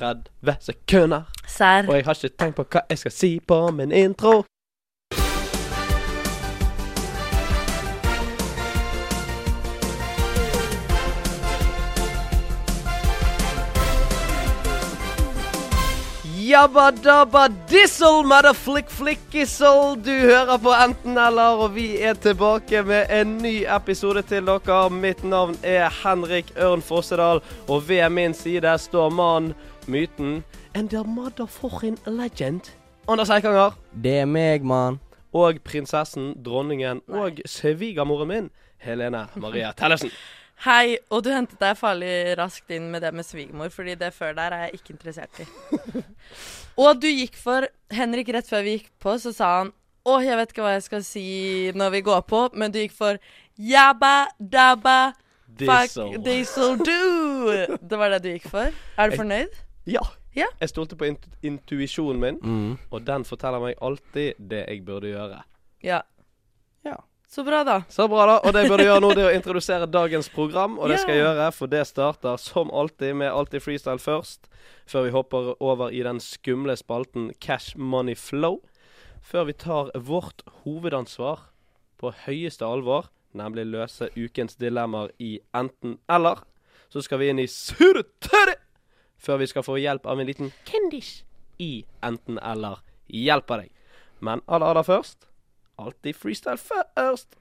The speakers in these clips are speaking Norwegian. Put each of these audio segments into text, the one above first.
30 sekunder. Serr. Og jeg har ikke tenkt på hva jeg skal si på min intro. Jabba dabba dizzle, mother flick flickissel. Du hører på Enten eller, og vi er tilbake med en ny episode til dere. Mitt navn er Henrik Ørn Fossedal, og ved min side står mannen, myten And the motherfucking legend. Anders Eikanger. Det er meg, mann. Og prinsessen, dronningen og svigermoren min, Helene Maria Tellefsen. Hei, og du hentet deg farlig raskt inn med det med svigermor, fordi det før der er jeg ikke interessert i. og du gikk for Henrik rett før vi gikk på, så sa han Å, jeg vet ikke hva jeg skal si når vi går på, men du gikk for jabba dabba fuck Diesel. diesel do. Det var det du gikk for. Er du fornøyd? Ja. Ja. Jeg stolte på int intuisjonen min, Mm. og den forteller meg alltid det jeg burde gjøre. Ja. Ja. Så bra, da. Så bra, da. Og det jeg burde gjøre nå, det er å introdusere dagens program, og det skal jeg Ja. gjøre, for det starter som alltid med Alltid freestyle først, før vi hopper over i den skumle spalten Cash Money Flow. Før vi tar vårt hovedansvar på høyeste alvor, nemlig løse ukens dilemmaer i enten eller, så skal vi inn i surtørre før vi skal få hjelp av en liten kjendis i enten eller hjelper deg. Men aller, aller først alltid freestyle først.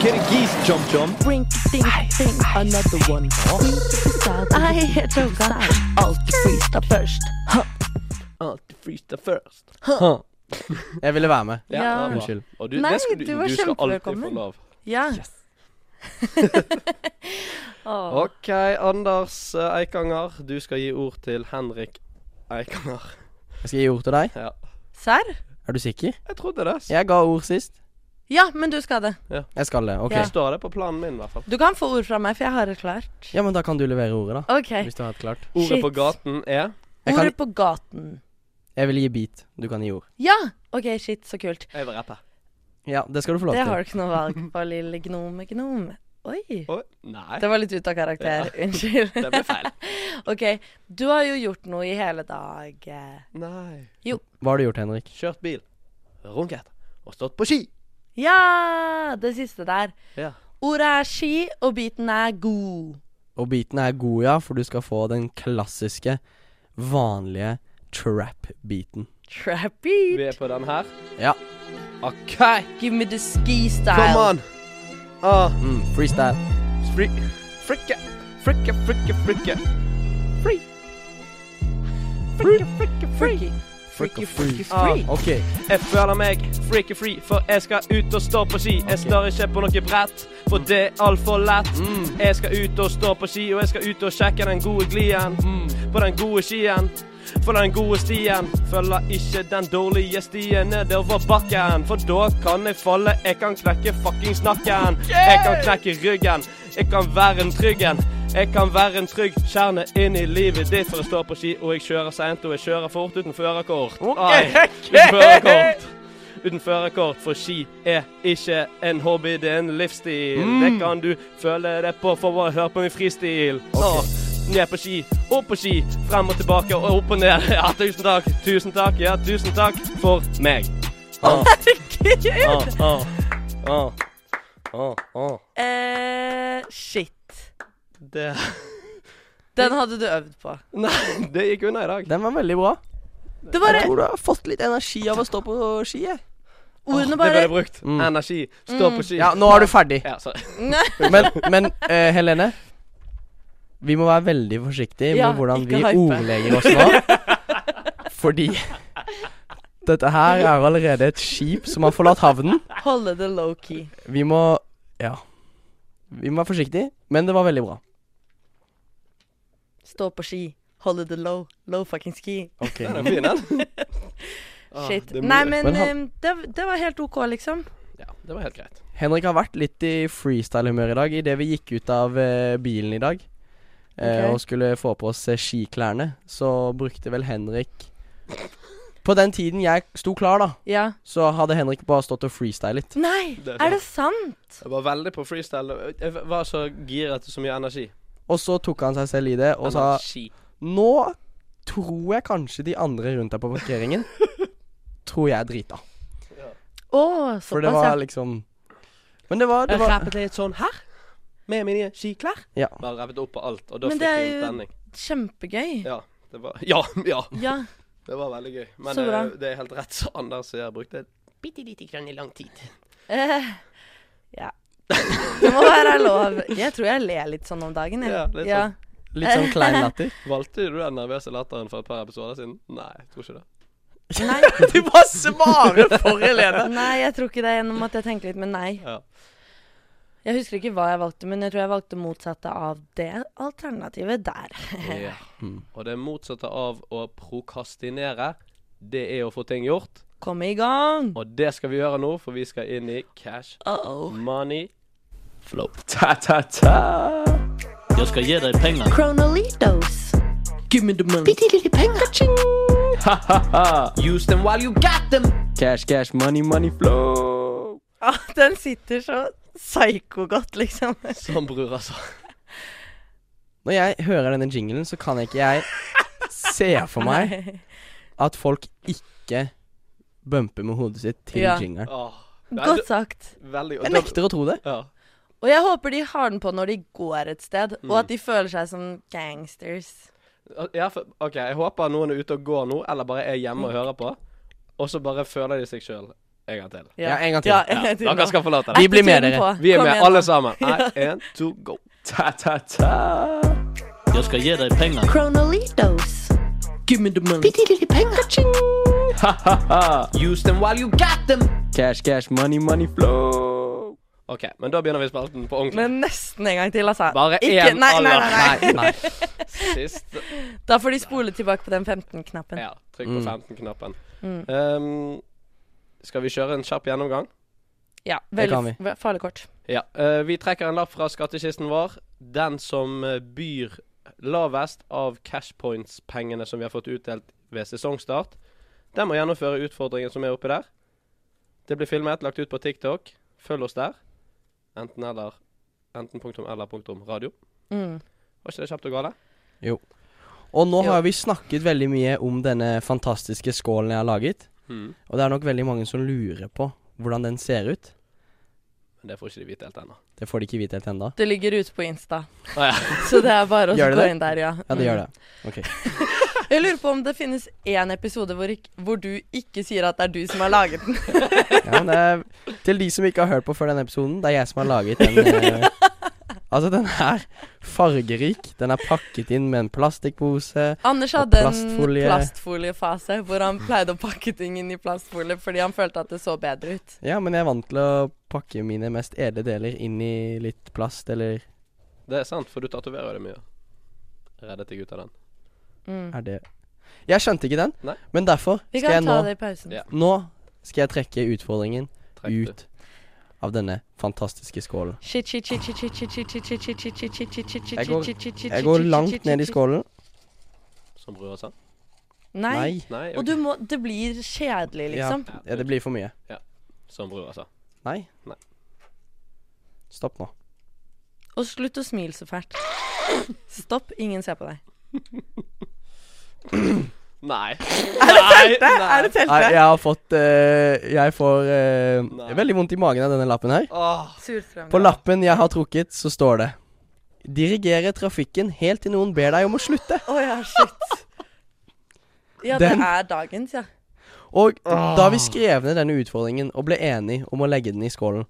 Kirgis jump jump. Brink, ding, ding, another one. Jeg heter Olga. Alt freestyle først. Alltid freestyle først. Jeg ville være med. Ja. det var bra. Unnskyld. Og du, Nei, det skal, du, du du, var skal alltid få kjempevelkommen. lov. Ja. Åh. OK, Anders eh, Eikanger, du skal gi ord til Henrik Eikanger. Jeg skal gi ord til deg. Ja. Serr? Er du sikker? Jeg trodde det. så- Jeg ga ord sist. Ja, men du skal det. Jeg skal det. Ok. Ja. Det står det på planen min, i hvert fall. Du kan få ord fra meg, for jeg har det klart. Ja, men da kan du levere ordet, da. OK. Hvis du har et klart. Ordet Shit. på gaten er Jeg, kan, Ordet på gaten. jeg vil gi beat. Du kan gi ord. Ja! OK, shit, så kult. Jeg vil rappe. Ja, det skal du få lov Det til. har du ikke noe valg på, lille gnome gnom. Oi. Oi, nei. Det var litt ut av karakter. Unnskyld. Det ble feil. OK, du har jo gjort noe i hele dag. Nei. Hva har du gjort, Henrik? Kjørt bil, runket og stått på ski. Ja! Det siste der. Ja. Ordet er ski, og biten er god. Og beaten er god, ja, for du skal få den klassiske, vanlige trap-beaten. Trap Vi er beat. på den her. Ja. OK, Give me the ski kom style. an. Ah, Mm, freestyle. fri, frikke, frikke, frikke, frikke. Fri. Frikke, frikke, Freaky. Freak Freaky, of free. freaky, Ah, Ah. free. Ok. Jeg føler meg freaky free, for jeg skal ut og stå på ski. Jeg står ikke på noe brett, for det er altfor lett. Jeg skal ut og stå på ski, og jeg skal ut og sjekke den gode glien. På den gode skien, for den gode stien. Følger ikke den dårlige stien nedover bakken, for da kan jeg falle. Jeg kan knekke fuckings nakken. Jeg kan knekke ryggen. Jeg kan være en tryggen. Jeg kan være en trygg kjerne inn i livet ditt for å stå på ski, og jeg kjører seint, og jeg kjører fort uten førerkort. Ai, Uten førerkort. Uten førerkort, for ski er ikke en hobby, det er en livsstil. Det kan du føle det på for å høre på min fristil. Nå, ned på ski, opp på ski, frem og tilbake og opp og ned. Ja, tusen takk, tusen takk, ja, tusen takk for meg. Ah, ah, ah, ah, ah, ah. Eh, shit. Det Den hadde du øvd på. Nei, det gikk unna i dag. Den var veldig bra. Det bare, Jeg tror du har fått litt energi av å stå på ski, jeg. Det ordene ble bare brukt. Mm. Energi. Stå på ski. Ja, nå er du ferdig. Ja, sorry. Men, men eh, Helene Vi må være veldig forsiktige Ja, med hvordan ikke vi hype. ordlegger oss nå. Fordi dette her er allerede et skip som har forlatt havnen. holde det low-key. Vi må Ja. Vi må være forsiktige, men det var veldig bra. Stå på ski. Holde det low. Low fucking ski. Ok Den er fin, den. Ah, Shit. det er Nei, mye. men, Men han- ehm, det, det var helt OK, liksom. Ja, det var helt greit. Henrik har vært litt i freestyle-humør i dag idet vi gikk ut av eh, bilen i dag eh, Ok. og skulle få på oss eh, skiklærne. Så brukte vel Henrik På den tiden jeg sto klar, da, Ja. så hadde Henrik bare stått og freestyle litt. Nei, Det er er det sant? Jeg var veldig på freestyle. Jeg var så giret og så mye energi. Og så tok han seg selv i det og Han sa er kjip. Nå tror jeg kanskje de andre rundt deg på parkeringen tror jeg er drita. Å, For det såpass, ja. var liksom Men det var, det Jeg var rappet litt sånn her. Med mine skiklær. Ja. Bare rappet opp på alt, og da Men fikk det er jeg en jo- spenning. Kjempegøy. Ja, det var Ja! ja Ja. Det var veldig gøy. Men Så bra. eh, det er helt rett som Anders sier. Jeg brukte bitte lite grann i lang tid. Eh, ja. Det må være lov. Jeg tror jeg ler litt sånn om dagen, jeg. Ja, litt ja. litt sånn klein latter. Valgte du den nervøse latteren for et par episoder siden? Nei, jeg tror ikke det. Nei. Du bare svarer for Helene! nei, jeg tror ikke det, gjennom at jeg tenker litt, men nei. Ja. Jeg husker ikke hva jeg valgte, men jeg tror jeg valgte motsatte av det alternativet der. Ja. Og det motsatte av å prokastinere, det er å få ting gjort. Kom i gang! Og det skal vi gjøre nå, for vi skal inn i cash Uh-oh. money flow. Jeg skal gi deg penger. Kronolitos. Give me the money. Bitte lille penger. Use them while you got them. Cash, cash, money, money flow. Ah, den sitter så psyko-godt, liksom. Som bror, altså. Når jeg hører denne jinglen, så kan ikke jeg se for meg at folk ikke bumper med hodet sitt til Ja. jinglen. Godt sagt. Veldig Jeg nekter å tro det. Ja. Og jeg håper de har den på når de går et sted, Mm. og at de føler seg som gangsters. Ja, for, OK, jeg håper noen er ute og går nå, eller bare er hjemme og hører på. Og så bare føler de seg sjøl en gang til. Ja, en gang til. Ja, Ja, en gang til dere nå. skal forlate det. Vi blir med Etter dere. tiden på. Vi er Kom med, igjen, alle da. sammen. Nei, én, to, go. Jeg skal gi deg penger. Kronolitos. Bitte lille penger. Use them while you got them. Cash, cash, money, money flow. OK, men da begynner vi spalten på ordentlig. Men nesten en gang til, altså. Bare Ikke- én nei, nei, aller. nei, nei. Nei, nei. Sist Da får de spole tilbake på den 15-knappen. Ja, trykk på 15-knappen. Mm. Ehm, skal vi kjøre en kjapp gjennomgang? Ja, Det kan veldig f- farlig kort. Ja. eh, vi trekker en lapp fra skattkisten vår. Den som eh, byr lavest av cashpoints-pengene som vi har fått utdelt ved sesongstart, den må gjennomføre utfordringen som er oppi der. Det blir filmet, lagt ut på TikTok. Følg oss der. Enten eller. Enten punktum eller punktum radio. Mm. Var ikke det kjapt og gale? Og nå Jo. har vi snakket veldig mye om denne fantastiske skålen jeg har laget. Mm. Og det er nok veldig mange som lurer på hvordan den ser ut. Men det får ikke de vite helt ennå. Det får de ikke vite helt ennå. Det ligger ute på Insta, Å ja. så det er bare å Gjør det gå det? inn der, ja. Ja, det gjør det. Jeg lurer på om det finnes én episode hvor, ikk- hvor du ikke sier at det er du som har laget den. Ja, men det er, til de som ikke har hørt på før denne episoden, det er jeg som har laget den. eh, altså, den er fargerik. Den er pakket inn med en plastikkpose. Anders Og hadde plastfolie. en plastfoliefase hvor han pleide å pakke ting inn i plastfolie fordi han følte at det så bedre ut. Ja, men jeg er vant til å pakke mine mest edle deler inn i litt plast, eller Det er sant, for du tatoverer jo det mye. Reddet deg ut av den. Mm. er det Jeg skjønte ikke den, Nei. men derfor Vi skal jeg kan ta nå det i pausen. Ja. Nå skal jeg trekke utfordringen Trekk du. ut av denne fantastiske skålen. Shit, shit, shit, shit, shit, shit, shit, shit, shit, shit, shit, shit, shit, shit, shit, Jeg går- shit, shit, shit, Jeg shit, går shit, langt shit, ned i shit, shit. skålen. Som bror sa. Nei. Nei. Nei, Og ok. du må Det blir kjedelig, liksom. Ja. Ja, det blir for mye. Som bror sa. Nei. Nei. Stopp nå. Og slutt å smile så fælt. Stopp, ingen ser på deg. Nei. Nei, nei. Nei, jeg har fått eh, Jeg får eh, Nei. veldig vondt i magen av denne lappen her. Åh, Surstrøm. På lappen jeg har trukket, så står det Dirigere trafikken helt til noen ber deg om å slutte. Å ja, shit. Ja, det Den- er dagens, ja. Og da vi skrev ned denne utfordringen og ble enige om å legge den i skålen,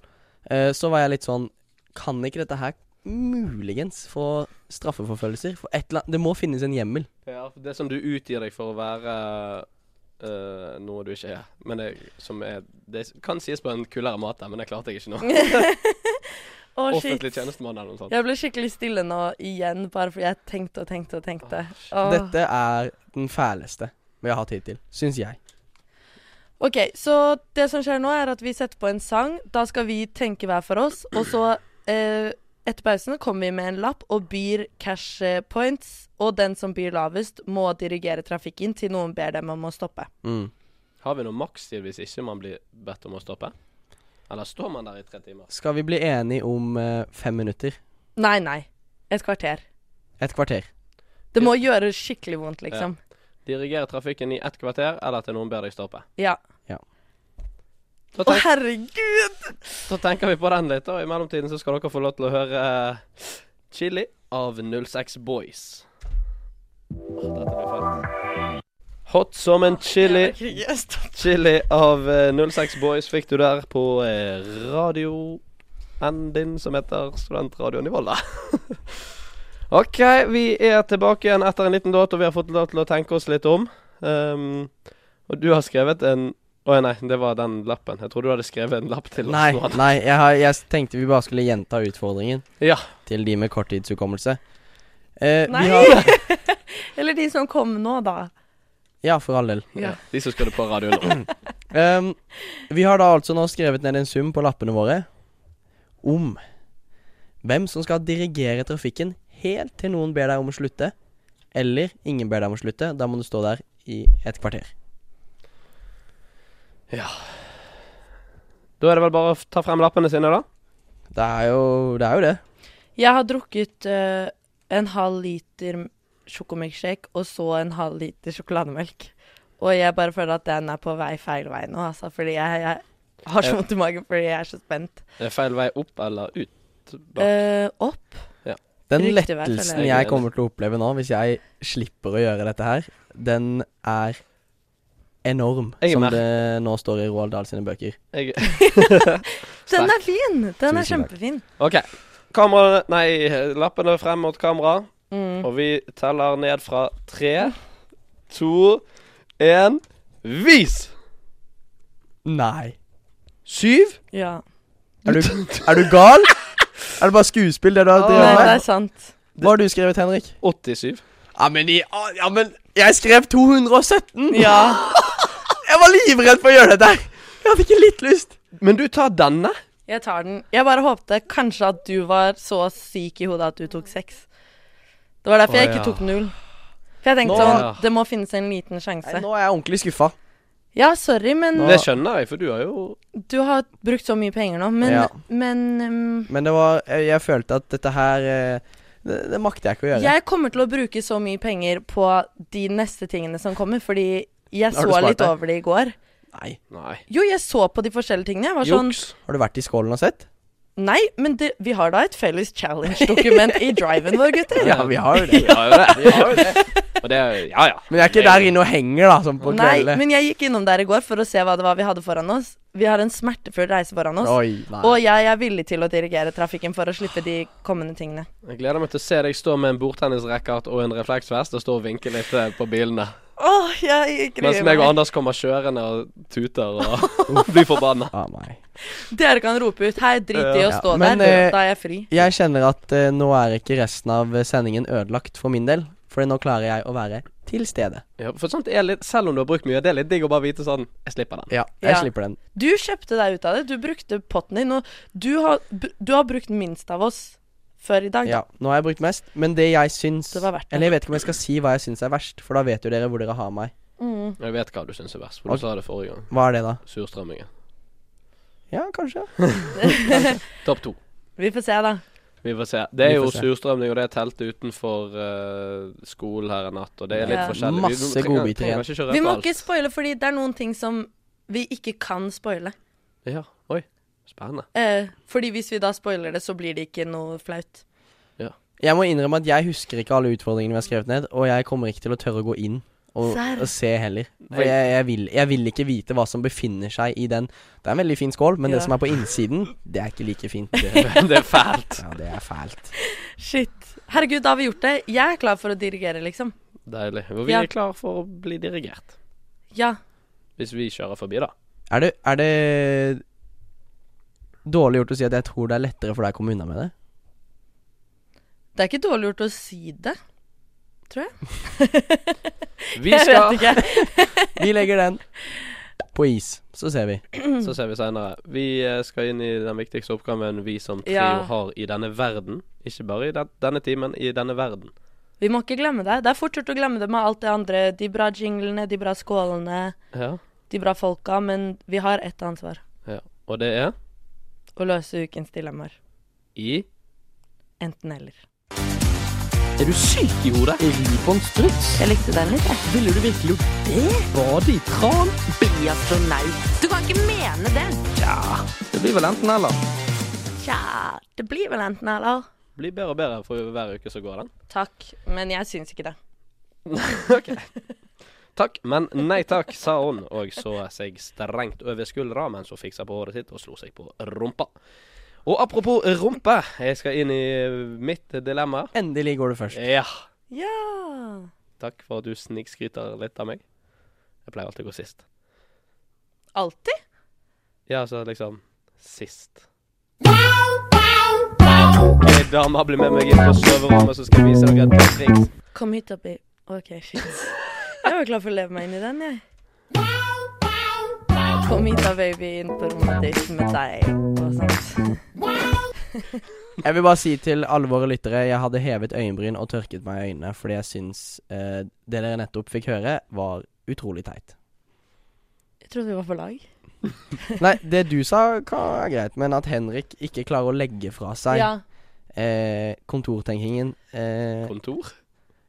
eh, så var jeg litt sånn Kan ikke dette her muligens få straffeforfølgelser? For et eller annet Det må finnes en hjemmel. ja, for det som du utgir deg for å være eh, noe du ikke er. Men det, som er, det kan sies på en kulere måte, men det klarte jeg ikke nå. Å, shit. Offentlig tjenestemann eller noe sånt. Jeg ble skikkelig stille nå igjen, bare fordi jeg tenkte og tenkte og tenkte. Åh. Dette er den fæleste vi har hatt hittil, syns jeg. OK, så det som skjer nå, er at vi setter på en sang. Da skal vi tenke hver for oss, og så eh, etter pausen kommer vi med en lapp og byr cash eh, points. Og den som byr lavest, må dirigere trafikken til noen ber dem om å stoppe. Mm. Har vi noe makstid hvis ikke man blir bedt om å stoppe? Eller står man der i tre timer? Skal vi bli enige om eh, fem minutter? Nei, nei. Et kvarter. Et kvarter. Det må gjøre skikkelig vondt, liksom. Dirigere trafikken i ett kvarter, eller til noen ber deg stoppe. Ja. Da, Å, tenk, herregud! da tenker vi på den litt, og i mellomtiden så skal dere få lov til å høre eh, Chili av 06 Boys. Åh, dette blir fett. Hot som en chili. Chili av eh, 06 Boys fikk du der på eh, radioen din som heter Studentradioen i Volda. OK, vi er tilbake igjen etter en liten låt, og vi har fått lov til å tenke oss litt om. Um, og du har skrevet en Å nei, det var den lappen. Jeg trodde du hadde skrevet en lapp til oss. Nei, nå. nei jeg, har, jeg tenkte vi bare skulle gjenta utfordringen Ja. til de med korttidshukommelse. Eh, vi Nei! har, Eller de som kom nå, da. ja, for all del. Ja. De som skulle på radioen nå. Ehm, vi har da altså nå skrevet ned en sum på lappene våre om hvem som skal dirigere trafikken helt til noen ber deg om å slutte, eller ingen ber deg om å slutte. Da må du stå der i et kvarter. Da er det vel bare å ta frem lappene sine, da. Det er jo det. Er jo det. Jeg har drukket eh, en halv liter sjokomilkshake og så en halv liter sjokolademelk. Og jeg bare føler at den er på vei feil vei nå, altså. Fordi jeg, jeg Eh. har så vondt i magen fordi jeg er så spent. Er det feil vei opp eller ut? Da. Eh, opp. Den Riktig vei, føler lettelsen jeg. jeg kommer til å oppleve nå, hvis jeg slipper å gjøre dette her, den er enorm, Jeg er som med. det nå står i Roald Dahl sine bøker. Jeg, Den er fin! Den er Tusen takk. kjempefin. OK. Kamera Nei, lappene frem mot kamera. Mm. Og vi teller ned fra tre, to, én Vis! Nei. Syv. Ja. Er du, er du gal? Er det bare skuespill, det du har Nei, drevet det med? er sant. Hva har du skrevet, Henrik? 87. Ja, men, i- ah, ja, men jeg skrev 217! Ja. Jeg var livredd for å gjøre det der! Jeg hadde ikke litt lyst. Men du tar denne? Jeg tar den. Jeg bare håpte kanskje at du var så syk i hodet at du tok seks. Det var derfor Å, jeg ikke ja. tok null. For jeg tenkte Nå- sånn, det må finnes en liten sjanse. nå er jeg ordentlig skuffa. Ja, sorry, men Det skjønner jeg, for du har jo du har brukt så mye penger nå. Men, Ja. men um, Men det var Jeg, jeg følte at dette her eh, det, det makter jeg ikke å gjøre. jeg kommer til å bruke så mye penger på de neste tingene som kommer, fordi jeg Har du så spart litt deg? over det i går. Nei. Nei. Jo, jeg så på de forskjellige tingene. Jeg var sånn Juks. Har du vært i skålen og sett? Nei, men det, vi har da et felles challenge-dokument i driven vår, gutter. Ja, vi har jo det. Vi har jo det. Vi har jo det. Og det er jo- Ja, ja. Men jeg er ikke der inne og henger, da, som på Nei, kvelden. men jeg gikk innom der i går for å se hva det var vi hadde foran oss. Vi har en smertefull reise foran oss. Oi, nei. Og jeg er villig til å dirigere trafikken for å slippe de kommende tingene. Jeg gleder meg til å se deg stå med en bordtennisracket og en refleksvest og stå og vinke litt eh, på bilene. Åh, jeg Mens gruer meg og meg. Anders kommer kjørende og tuter og blir forbanna. Ah, nei. Dere kan rope ut 'hei, drit i å Ja, stå men, der', eh, da er jeg fri. Jeg kjenner at eh, nå er ikke resten av eh, sendingen ødelagt for min del. For nå klarer jeg å være til stede. Ja, for sånt er litt, Selv om du har brukt mye, det er litt digg å bare vite sånn Jeg slipper den. Ja, jeg Ja. slipper den. Du kjøpte deg ut av det. Du brukte potten din. Og du har, br- du har brukt minst av oss før i dag. Ja, nå har jeg brukt mest. Men det jeg syns Det var verdt det. Eller jeg vet ikke om jeg skal si hva jeg syns er verst, for da vet jo dere hvor dere har meg. Mm. Jeg vet hva du syns er verst, for Ok. du sa det forrige gang. Hva er det, da? Surstrømmingen. Ja, kanskje. Topp to. Vi får se, da. Vi får se. Det er Vi jo får se. surstrømning, og det er telt utenfor eh, skolen her i natt, og det er litt Ja. forskjellig. Masse godbiter igjen. igjen. Vi må ikke spoile, fordi det er noen ting som vi ikke kan spoile. Ja. Oi. Spennende. Eh, fordi hvis vi da spoiler det, så blir det ikke noe flaut. Jeg må innrømme at jeg husker ikke alle utfordringene vi har skrevet ned, og jeg kommer ikke til å tørre å gå inn og, Serr. og se heller. For Nei. jeg, jeg, vil, jeg vil ikke vite hva som befinner seg i den. Det er en veldig fin skål, men Ja. det som er på innsiden, det er ikke like fint. det er fælt. Ja, det er fælt. Shit. Herregud, da har vi gjort det. Jeg er klar for å dirigere, liksom. Deilig. Og vi Ja. er klar for å bli dirigert. Ja. Hvis vi kjører forbi, da. Er det, er det dårlig gjort å si at jeg tror det er lettere for deg å komme unna med det? Det er ikke dårlig gjort å si det. Vi Jeg skal vet ikke. Vi legger den på is, så ser vi. Så ser vi seinere. Vi eh, skal inn i den viktigste oppgaven vi som trio Ja. har i denne verden. Ikke bare i den, denne timen, i denne verden. Vi må ikke glemme det. Det er fort gjort å glemme det med alt det andre. De bra jinglene, de bra skålene, Ja. de bra folka. Men vi har ett ansvar. ja. Og det er Å løse ukens dilemmaer. i Enten eller. Er du syk i hodet? Ribåndstruts? Jeg likte den litt, jeg. Ville du virkelig gjort det? Bade i tran? Bli astronaut. Du kan ikke mene det! Det blir vel enten eller. Tja, det blir vel enten eller. Blir bedre og bedre for hver uke som går den. Takk, men jeg syns ikke det. Takk, men nei takk, sa hun, og så seg strengt over skuldra mens hun fiksa på håret sitt og slo seg på rumpa. Og apropos rumpe, jeg skal inn i mitt dilemma. Endelig går du først. Ja. Ja. Takk for at du snikskryter litt av meg. Jeg pleier alltid å gå sist. Alltid? Ja, altså liksom sist. Ok, Dama blir med meg inn på soverommet, så skal jeg vise dere et par triks. Kom hit oppi OK, shit. Jeg var klar for å leve meg inn i den, jeg. Kom hit da, baby, inn på rommet ditt med deg og sånt. Jeg vil bare si til alle våre lyttere jeg hadde hevet øyenbryn og tørket meg i øynene fordi jeg syns eh, det dere nettopp fikk høre, var utrolig teit. Jeg trodde vi var på lag. Nei, det du sa kan er greit, men at Henrik ikke klarer å legge fra seg Ja. eh, kontortenkingen, eh, Kontor?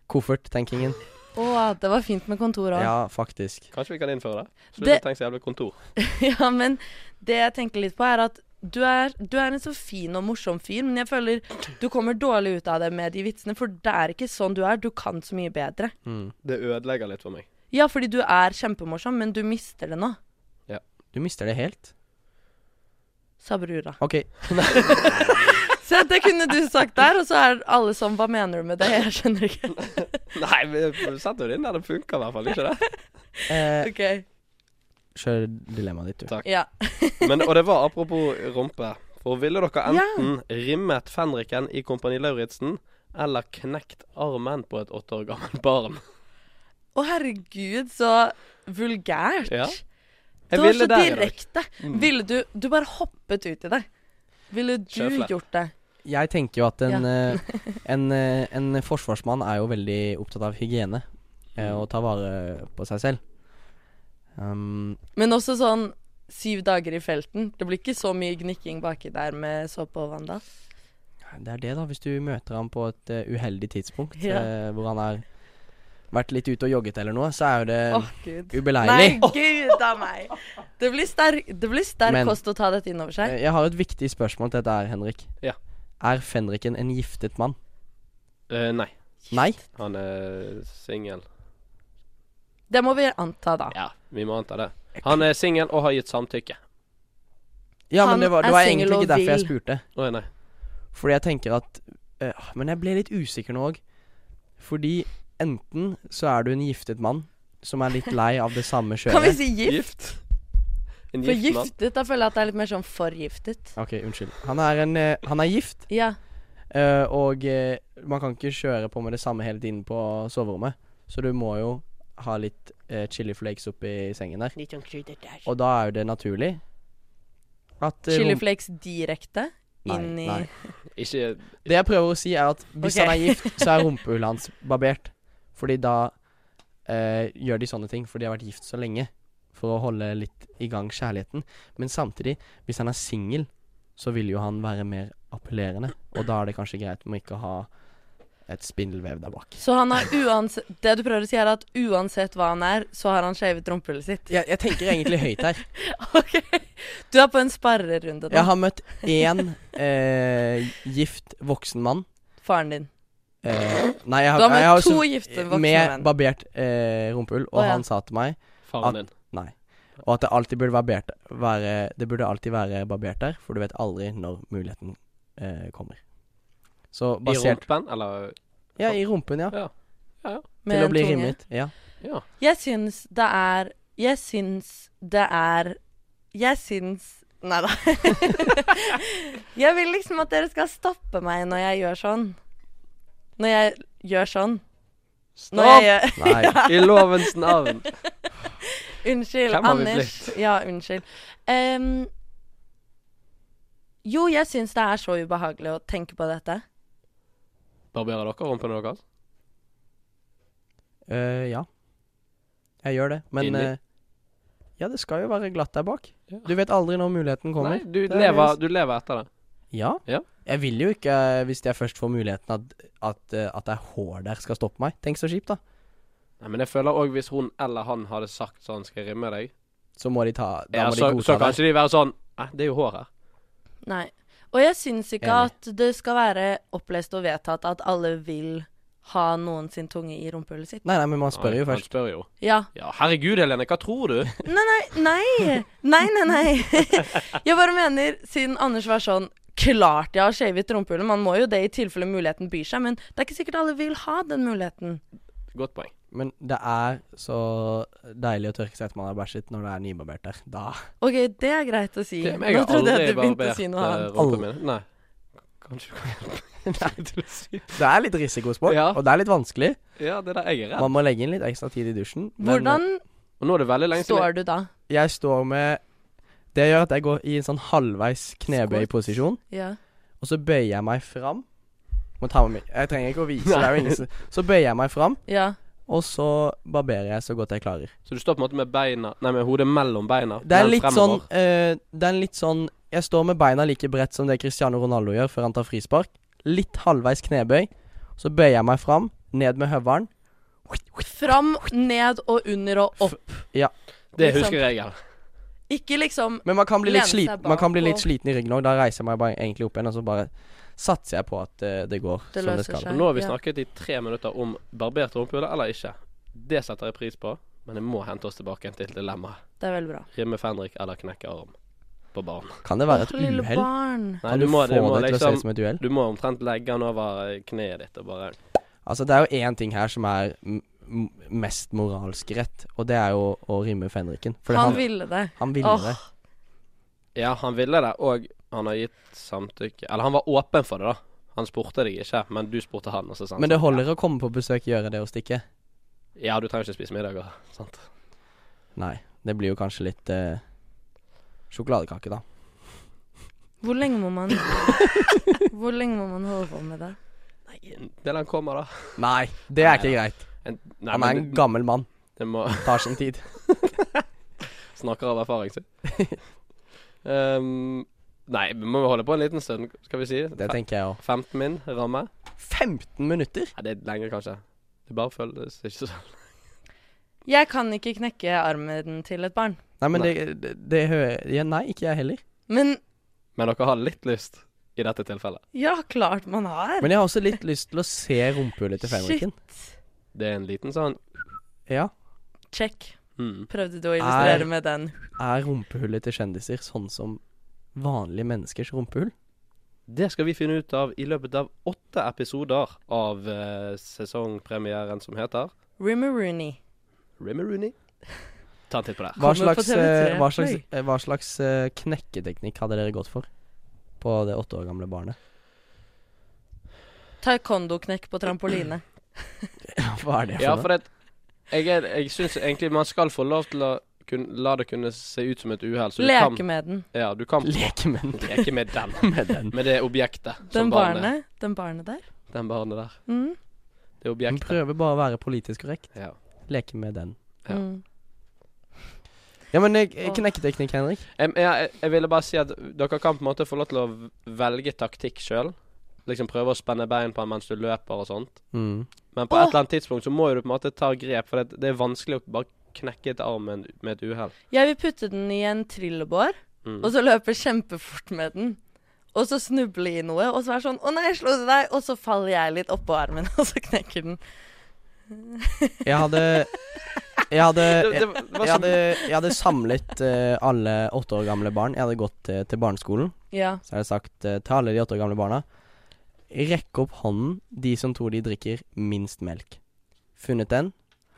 kofferttenkingen. Å, det var fint med kontor òg. Ja. Ja, faktisk. Kanskje vi kan innføre det? Slutt Det- å tenke så jævlig kontor. men det jeg tenker litt på, er at du er, du er en så fin og morsom fyr, men jeg føler du kommer dårlig ut av det med de vitsene, for det er ikke sånn du er. Du kan så mye bedre. Mm. Det ødelegger litt for meg. Ja, fordi du er kjempemorsom, men du mister det nå, Du mister det helt. sa brura. OK. Se, det kunne du sagt der, og så er alle sånn Hva mener du med det? Jeg skjønner ikke. Nei, vi satte jo det inn der det funka i hvert fall, ikke det? Eh, OK. Kjør dilemmaet ditt, du. Takk. Ja. Men, og det var apropos rumpe. For ville dere enten rimmet fenriken i Kompani Lauritzen eller knekt armen på et åtte år gammelt barn? Å, herregud, så vulgært. Ja. Det Jeg var ville så der Mm. i dag. direkte. Ville du Du bare hoppet ut i det. Ville du Sjøfle. gjort det? Jeg tenker jo at en, eh, en, eh, en forsvarsmann er jo veldig opptatt av hygiene eh, Mm. og ta vare på seg selv. Um, Men også sånn syv dager i felten. Det blir ikke så mye gnikking baki der med såpe og vanndal. det er det, da. Hvis du møter ham på et eh, uheldig tidspunkt Ja. eh, hvor han har vært litt ute og jogget eller noe, så er jo det Å, gud. Nei, ubeleilig. gud a meg. Det blir sterk, det blir sterk Men- kost å ta dette inn over seg. Eh, Jeg har et viktig spørsmål til dette her, Henrik. Ja. Er fenriken en giftet mann? Eh, nei, Nei. han er singel. Det må vi anta, da. Ja, vi må anta det. Han er singel og har gitt samtykke. Ja, Han men det var, er det var singel egentlig ikke og derfor jeg vil. spurte. Å nei. Fordi jeg tenker at eh, Men jeg ble litt usikker nå òg. Fordi enten så er du en giftet mann som er litt lei av det samme Kan vi kjøret. si gift? Gift. En For gift, mann. giftet, da føler jeg at det er litt mer sånn forgiftet. Ok, unnskyld. Han er, en, eh, han er gift, Ja. eh, og eh, man kan ikke kjøre på med det samme hele tiden på soverommet. Så du må jo ha litt eh, chili flakes oppi sengen der. Litt sånn krydder der. Og da er jo det naturlig at eh, Chili rom- flakes direkte Nei, inn i nei. Ikke Det jeg prøver å si, er at hvis Ok. han er gift, så er rumpehullet hans barbert. Fordi da eh, gjør de sånne ting, for de har vært gift så lenge. For å holde litt i gang kjærligheten. Men samtidig, hvis han er singel, så vil jo han være mer appellerende. Og da er det kanskje greit med ikke å ha et spindelvev der bak. Så han har uansett Det du prøver å si, er at uansett hva han er, så har han shavet rumpehullet sitt. Jeg, jeg tenker egentlig høyt her. Ok. Du er på en sparrerunde, da. Jeg har møtt én eh, gift voksen mann. Faren din. Eh, nei, jeg har, Du har møtt jeg har to også- gifte voksne menn. Med barbert eh, rumpehull, og Å, ja. han sa til meg At- faren din. Nei. Og at det alltid burde være, bert, være Det burde alltid være barbert der, for du vet aldri når muligheten eh, kommer. Så I basert rumpen, eller Ja, i rumpen, ja. Ja. Med Til å en bli tunge. rimmet. Ja. Ja. Jeg syns det er Jeg syns det er Jeg syns Nei da. jeg vil liksom at dere skal stoppe meg når jeg gjør sånn. Når jeg gjør sånn. Når jeg Stopp! gjør Nei. I lovens navn. Unnskyld. Hvem har vi Anders. Ja, unnskyld. Em, jo, jeg syns det er så ubehagelig å tenke på dette. Barberer dere rumpene deres? Eh, ja. Jeg gjør det, men Inni? eh, Ja, det skal jo være glatt der bak. Ja. Du vet aldri når muligheten kommer. Nei, du Det er lever, det- du lever etter det. Ja. Ja. Jeg vil jo ikke, eh, hvis jeg først får muligheten, at, at, eh, at det er hår der skal stoppe meg. Tenk så kjipt, da. Nei, men jeg føler òg hvis hun eller han hadde sagt sånn, skal jeg rimme deg, Så må de ta Da ja, må så, de så godta det. kanskje de være sånn Nei, det er jo hår her. Nei. Og jeg syns ikke Enig. at det skal være opplest og vedtatt at alle vil ha noen sin tunge i rumpehullet sitt. Nei, nei, men man spør Nei, jo han først. spør jo. Ja. Ja, herregud, Helene, hva tror du? Nei, nei, nei. Nei, nei, nei. Jeg bare mener, siden Anders var sånn Klart jeg har skjevet rumpehullet, man må jo det i tilfelle muligheten byr seg, men det er ikke sikkert alle vil ha den muligheten. Godt poeng. Men det er så deilig å tørke seg etter man har bæsjet, når det er nybarbert der. Da OK, det er greit å si. Det, men jeg Nå har trodde jeg aldri at du begynte å barbert si eh, noe annet. Aldri. rumpen min. Nei. Kanskje du kan hjelpe meg til å si Det er litt risikosport, Ja. og det er litt vanskelig. Ja, det er der jeg er redd. Man må legge inn litt ekstra tid i dusjen. men- eh, Hvordan Og nå er det veldig lenge eh, siden. står du da? Jeg står med Det gjør at jeg går i en sånn halvveis knebøyposisjon, Ja. og så bøyer jeg meg fram. Må ta med meg. Jeg trenger ikke å vise, det er jo ingen som Så bøyer jeg meg fram, ja. og så barberer jeg så godt jeg klarer. Så du står på en måte med beina Nei, med hodet mellom beina. Det er men litt sånn fremover. eh, Det er en litt sånn Jeg står med beina like bredt som det Cristiano Ronaldo gjør før han tar frispark. Litt halvveis knebøy, så bøyer jeg meg fram, ned med høvelen. Fram, ned og under og opp. Det liksom- husker jeg. ja. Ikke liksom Men man kan bli Lene litt, seg sliten, man kan bli bak og- litt sliten i ryggen òg. Da reiser jeg meg bare egentlig opp igjen, og så bare satser jeg på at eh, det går Det som løser det skal. seg. Og nå har vi Ja. snakket i tre minutter om barbert rumpehule eller ikke. Det setter jeg pris på, men jeg må hente oss tilbake igjen til dilemmaet. Det er veldig bra. Rimme Fenrik eller knekke arm på barn. Kan det være et Åh, lille uhell? barn. Nei, Kan du du, må, få du må det til å se ut liksom som et duell? Du må omtrent legge den over kneet ditt og bare Altså, det er jo én ting her som er m m mest moralsk rett, og det er jo å rimme Fenriken. For Han han, ville det. han ville Åh. det. Ja, han ville det, og han har gitt samtykke. Eller han var åpen for det, da. Han spurte deg ikke, men du spurte han. Og så sa han Men det sånn, holder å komme på besøk, gjøre det og stikke? Ja, du trenger ikke spise middag. og- Sant? Nei. Det blir jo kanskje litt eh, sjokoladekake, da. Hvor lenge må man Hvor lenge må man holde på med det? Til han kommer, da. Nei, det er ikke greit. En, nei, Han er en men det, gammel mann. det må Tar sin tid. Snakker av erfaring, si. um, nei, vi må jo holde på en liten stund, skal vi si. Det tenker jeg òg. 15 min ramme. 15 minutter? Nei, det er lenger, kanskje. Det bare føles ikke sånn. Jeg kan ikke knekke armen til et barn. Nei, men det, det, det hører ja, Nei, ikke jeg heller. Men Men dere har litt lyst i dette tilfellet. ja, klart man har. Men jeg har også litt lyst til å se rumpehullet til Fenriken. Det er en liten sånn Ja. Check. mm. Prøvde du å illustrere Er- med den? Er rumpehullet til kjendiser sånn som vanlige menneskers rumpehull? Det skal vi finne ut av i løpet av åtte episoder av eh, sesongpremieren som heter Rimmer Rooney. Rimmerooney. Ta en titt på det. Hva Kommer på slags, TV3 eh, hva slags, Play. eh, hva slags eh, knekketeknikk hadde dere gått for på det åtte år gamle barnet? Taekwondo-knekk på trampoline. Hva er det for Ja, noe? for det Jeg, er- jeg syns egentlig man skal få lov til å kunne, la det kunne se ut som et uhell, så du Leke kan med den. Ja, du kan Leke med den. leke med den. Med den. Med det objektet. Den som barnet. barnet, den barnet der. Den barnet der. Mm. Det Den objektet. prøver bare å være politisk korrekt. Ja. Leke med den. Ja. Mm. Ja, men eh, Åh. knekketeknikk, Henrik. Jeg, jeg, jeg ville bare si at dere kan på en måte få lov til å velge taktikk sjøl. Liksom prøve å spenne bein på en mens du løper og sånt. Mm. Men på Åh! et eller annet tidspunkt så må jo du på en måte ta grep, for det, det er vanskelig å bare knekke et arm med, en- med et uhell. Jeg vil putte den i en trillebår, Mm. og så løpe kjempefort med den. Og så snuble i noe, og så være sånn 'Å nei, jeg slo til deg!' Og så faller jeg litt oppå armen, og så knekker den. Jeg hadde Jeg hadde Det, det jeg, var jeg så, hadde, jeg hadde samlet eh, alle åtte år gamle barn. Jeg hadde gått eh, til barneskolen. Ja. Så har jeg sagt eh, til alle de åtte år gamle barna Rekk opp hånden de som tror de drikker minst melk. Funnet den.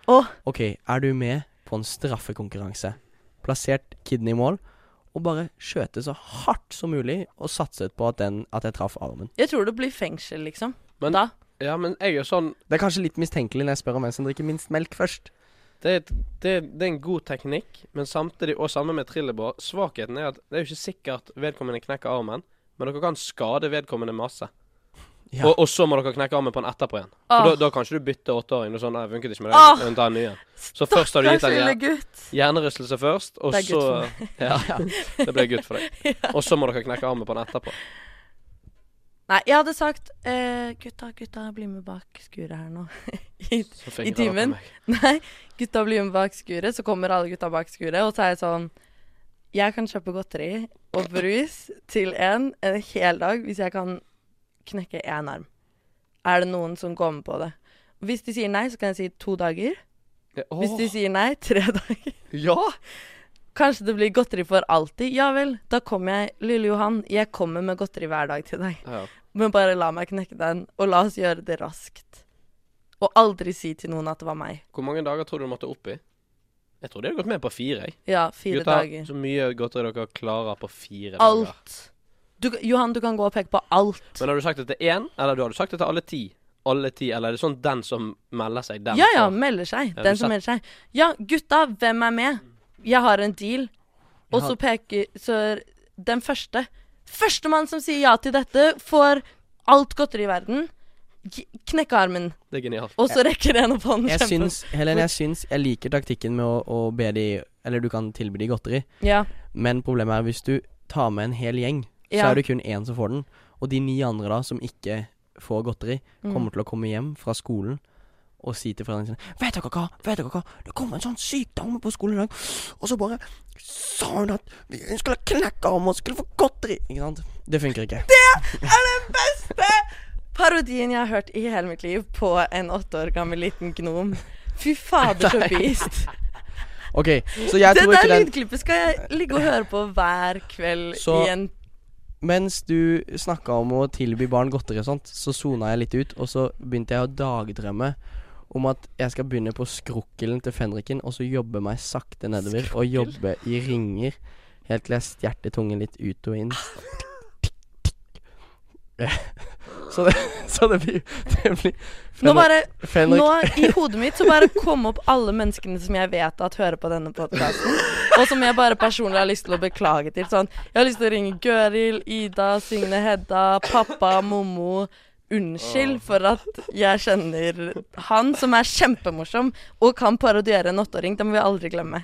Åh. OK, er du med på en straffekonkurranse? Plassert kiden i mål, og bare skjøte så hardt som mulig, og satset på at, den, at jeg traff armen. Jeg tror det blir fengsel, liksom. Men- da. ja, men jeg er jo sånn Det er kanskje litt mistenkelig når jeg spør om hvem som drikker minst melk først. det er, et- det, er- det er en god teknikk, men samtidig, og samme med trillebår, svakheten er at det er jo ikke sikkert vedkommende knekker armen, men dere kan skade vedkommende masse. Ja. Og, og så må dere knekke armen på en etterpå igjen. For da, Åh, da kan ikke du bytte åtteåring. og Sånn, nei, funket ikke med Åh! deg, men ta en ny en. Så først har du gitt Stakkars lille deg gutt. hjernerystelse først, og Det er så gutt ja, Det ble gutt for deg. Og så må dere knekke armen på den etterpå. Nei, jeg hadde sagt eh, Gutta, gutta, bli med bak skuret her nå. I, Så fikk I jeg det timen? på meg. nei, gutta blir med bak skuret, så kommer alle gutta bak skuret, og så er jeg sånn Jeg kan kjøpe godteri og brus til en en hel dag hvis jeg kan knekke én arm. Er det noen som går med på det? Hvis de sier nei, så kan jeg si to dager. Ja, åh, Hvis de sier nei, tre dager. Ja! Kanskje det blir godteri for alltid. Ja vel, da kommer jeg. Lille Johan, jeg kommer med godteri hver dag til deg. Ja, Men bare la meg knekke den, og la oss gjøre det raskt. Og aldri si til noen at det var meg. Hvor mange dager tror du du måtte opp i? Jeg tror de hadde gått med på fire. jeg Ja, fire Gutta, dager. Så mye godteri dere klarer på fire dager. Alt. Du, Johan, du kan gå og peke på alt. Men har du sagt det til én, eller du har du sagt det til alle ti? Alle ti, Eller er det sånn den som melder seg, den Ja ja, får? melder seg. Ja, Den du som sa- melder seg. Ja, gutta, hvem er med? Jeg har en deal. Og så peker Så den første Førstemann som sier ja til dette, får alt godteri i verden. K- Knekke armen. Det er genialt. Og så rekker en opp hånden. Jeg kjempe- syns, Helen, jeg syns Jeg liker taktikken med å, å be de Eller du kan tilby de godteri, Ja. men problemet er hvis du tar med en hel gjeng, så Ja. er det kun én som får den. Og de ni andre da, som ikke får godteri, Mm. kommer til å komme hjem fra skolen og si til foreldrene sine Vet dere hva, vet dere hva, det kom en sånn syk dame på skolen i dag, og så bare sa hun at vi- hun skulle knekke armen og skulle få godteri. Ikke sant? Det funker ikke. er den beste parodien jeg har hørt i hele mitt liv på en åtte år gammel liten gnom. Fy fader, så beast. OK, så jeg Det tror der ikke den lydklippet skal jeg ligge og høre på hver kveld Så- i en Mens du snakka om å tilby barn godteri og sånt, så sona jeg litt ut, og så begynte jeg å dagdrømme om at jeg skal begynne på skrukkelen til fenriken, og så jobbe meg sakte nedover, og jobbe i ringer, helt til jeg stjerter tungen litt ut og inn. Så det, så det blir, det blir Nå bare Fenrik Nå, i hodet mitt, så bare kom opp alle menneskene som jeg vet at hører på denne podkasten, og som jeg bare personlig har lyst til å beklage til. Sånn, jeg har lyst til å ringe Gøril, Ida, Signe, Hedda, pappa, Mommo. Unnskyld for at jeg kjenner han, som er kjempemorsom og kan parodiere en åtteåring. Det må vi aldri glemme.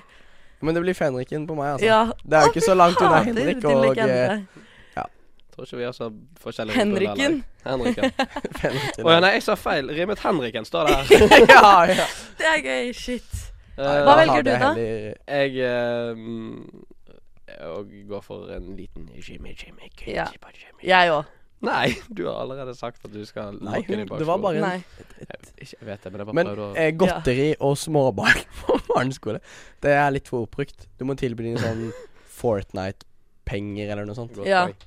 Men det blir fenriken på meg, altså. Ja. Det er jo Å, ikke så langt unna fader, Henrik din og eh, legende. Tror ikke vi har så forskjellige Henriken. roller, eller? Henriken. Å fenriken. ja, nei, jeg sa feil. Rimet Henriken står Eh, det her. ja, ja. Det er gøy. Shit. Eh, Hva Da velger hadde du jeg da? heller- Jeg eh, mm, Jeg går for en liten Jimmy, Jimmy, Jimmy, Ja. Jimmy. Jeg òg. Nei, du har allerede sagt at du skal Nei, lokke hun, dem bak det var skoen. bare en Nei. Ikke- Jeg vet det, men jeg bare Men prøvde å eh, godteri og småbarn på barneskole, det er litt for oppbrukt. Du må tilby dem sånn Fortnite-penger eller noe sånt. Godt ja. poeng.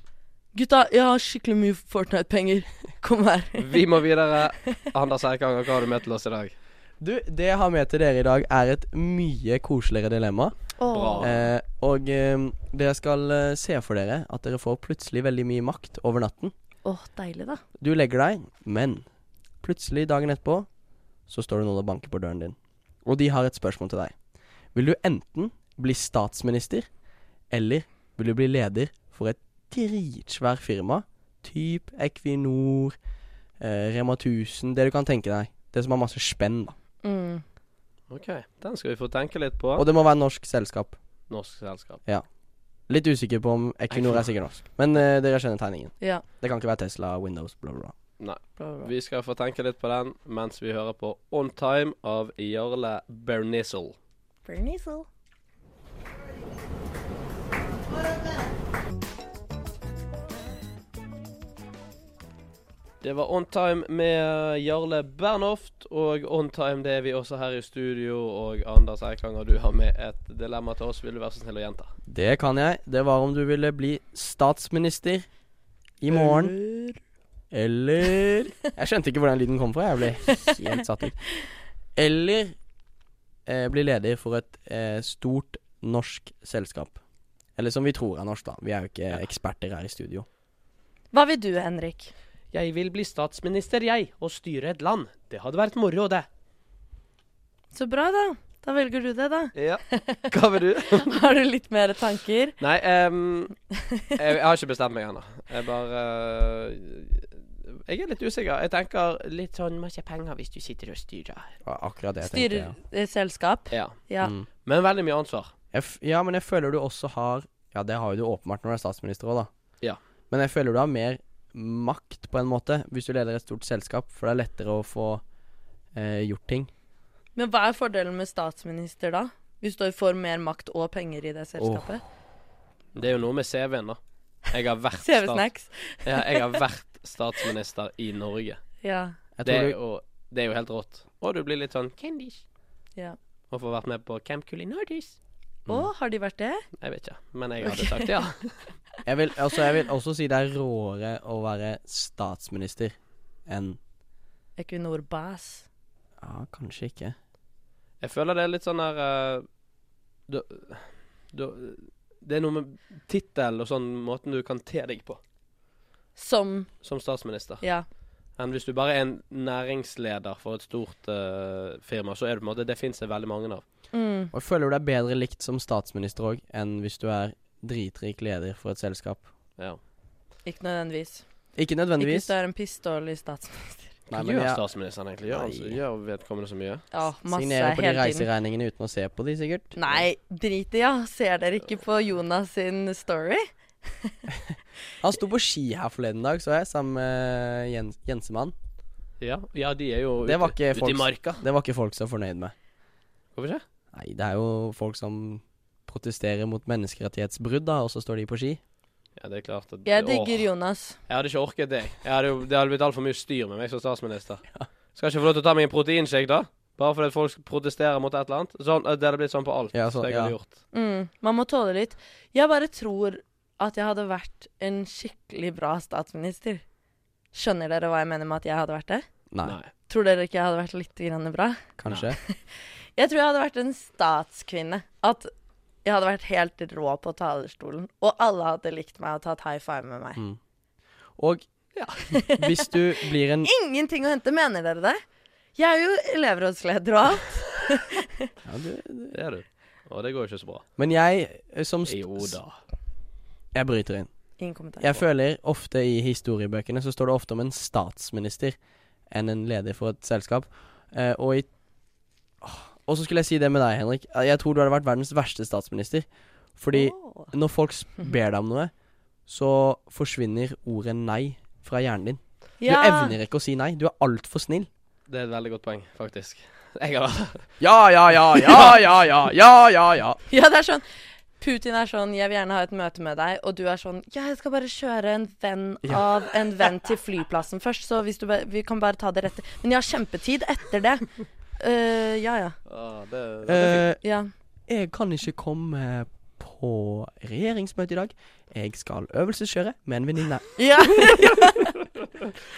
Gutta, jeg har skikkelig mye Fortnite-penger. Kom her. Vi må videre. Anders Eikanger, hva har du med til oss i dag? Du, det jeg har med til dere i dag, er et mye koseligere dilemma. Bra. Eh, og eh, dere skal eh, se for dere at dere får plutselig veldig mye makt over natten. Åh, deilig da. Du legger deg, men plutselig dagen etterpå så står det noen og banker på døren din. Og de har et spørsmål til deg. Vil du enten bli statsminister, eller vil du bli leder for et dritsvær firma, typ Equinor, eh, Rema 1000, det du kan tenke deg. Det som har masse spenn, da. Mm. OK, den skal vi få tenke litt på. Og det må være norsk selskap. Norsk selskap. Litt usikker på om Equinor er sikkert norsk, men eh, dere skjønner tegningen. Ja. Det kan ikke være Tesla, Windows, bla, bla. bla. Vi skal få tenke litt på den mens vi hører på On Time av Jarle Bernizzle. Bernizel. Det var On Time med eh, Jarle Bernhoft, og On Time det er vi også her i studio. Og Anders Eikanger, du har med et dilemma til oss. Vil du være så snill å gjenta? Det kan jeg. Det var om du ville bli statsminister i morgen, eller Jeg skjønte ikke hvor den lyden kom fra. Jeg ble helt satt ut. Eller eh, bli leder for et eh, stort norsk selskap. Eller som vi tror er norsk, da. Vi er jo ikke eksperter her i studio. Hva vil du, Henrik? Jeg vil bli statsminister, jeg, og styre et land. Det hadde vært moro, det. Så bra da. Da velger du det da. Ja. Hva vil du? Har du litt mer tanker? Nei, ehm, jeg, jeg har ikke bestemt meg ennå. Jeg bare eh, Jeg er litt usikker. Jeg tenker litt sånn masse penger hvis du sitter og styrer. Ja, Akkurat det jeg tenker. Styrer eh, selskap? Ja. Ja. Mm. Men veldig mye ansvar. Jeg f ja, men jeg føler du også har Ja, det har jo du åpenbart når du er statsminister òg, da. Ja. Men jeg føler du har mer makt, på en måte, hvis du leder et stort selskap, for det er lettere å få eh, gjort ting. Men hva er fordelen med statsminister, da? Hvis du får mer makt og penger i det selskapet? Det er jo noe med CV-en, da. Jeg har vært, stat CV-snacks. ja, jeg har vært statsminister i Norge. Ja. Jeg Det er, tror du, jo, det er jo helt rått. Og du blir litt sånn Candish. ja. Og får vært med på Camp Culinardis. Mm. Å, har de vært det? Jeg vet ikke, men jeg hadde sagt ja. jeg, vil, altså, jeg vil også si det er råere å være statsminister enn Equinor Bass. Ja, kanskje ikke. Jeg føler det er litt sånn her eh, du, du, Det er noe med tittel og sånn måten du kan te deg på Som som statsminister. Ja. Enn hvis du bare er en næringsleder for et stort eh, firma, så er det på en måte Det fins det veldig mange av. Mm. Og jeg føler du er bedre likt som statsminister òg, enn hvis du er dritrik leder for et selskap. Ja. Ikke nødvendigvis. Ikke Ikke nødvendigvis. hvis du er en pissdårlig statsminister. Hva Nei, men gjør jeg- statsministeren egentlig? Gjør, han så- Nei. gjør vedkommende så mye? Ja, masse Signerer på de hele tiden. reiseregningene uten å se på de, sikkert. Nei, drit i, ja. Ser dere ikke på Jonas sin story? Han sto på ski her forleden dag, så jeg, sammen med Jens Jensemann. Ja, ja de er jo Det var ikke ute i folks- marka. Det var ikke folk så fornøyd med. Hvorfor ikke? Nei, det er jo folk som protesterer mot menneskerettighetsbrudd, da, og så står de på ski. Ja, det er klart at Jeg Åh, digger Jonas. Jeg hadde ikke orket det. Jeg hadde jo, det hadde blitt altfor mye styr med meg som statsminister. Skal jeg ikke få lov til å ta meg en proteinshake, da? Bare fordi at folk protesterer mot et eller annet? Sånn, eh, det hadde blitt sånn på alt. Ja, så- så jeg ja. hadde gjort Mm, man må tåle litt. Jeg bare tror at jeg hadde vært en skikkelig bra statsminister. Skjønner dere hva jeg mener med at jeg hadde vært det? Nei, Nei. Tror dere ikke jeg hadde vært litt grann bra? kanskje. Jeg tror jeg hadde vært en statskvinne. At jeg hadde vært helt rå på talerstolen, og alle hadde likt meg og tatt high five med meg. Mm. Og hvis du blir en Ingenting å hente, mener dere det? Jeg er jo elevrådsleder og alt. ja, du, du. Det er du. Og det går jo ikke så bra. Men jeg eh, som st- Jo da. Jeg bryter inn. Ingen kommentar. Jeg føler ofte i historiebøkene så står det ofte om en statsminister enn en leder for et selskap. Eh, og i Åh, Og så skulle jeg si det med deg, Henrik. Eh, Jeg tror du hadde vært verdens verste statsminister. Fordi Åh. når folk s- ber deg om noe, så forsvinner ordet nei fra hjernen din. Du Ja. evner ikke å si nei. Du er altfor snill. Det er et veldig godt poeng, faktisk. Jeg har vært Ja, ja, ja, ja, ja, ja, ja, ja, ja. Ja, det er sånn Putin er sånn 'jeg vil gjerne ha et møte med deg', og du er sånn 'ja, jeg skal bare kjøre en venn av en venn til flyplassen først', så hvis du bare, vi kan bare ta det rette Men jeg har kjempetid etter det. Eh, ja, ja. Åh, det, det er fint. Eh, Ja. jeg kan ikke komme på regjeringsmøte i dag. Jeg skal øvelseskjøre med en venninne. Ja,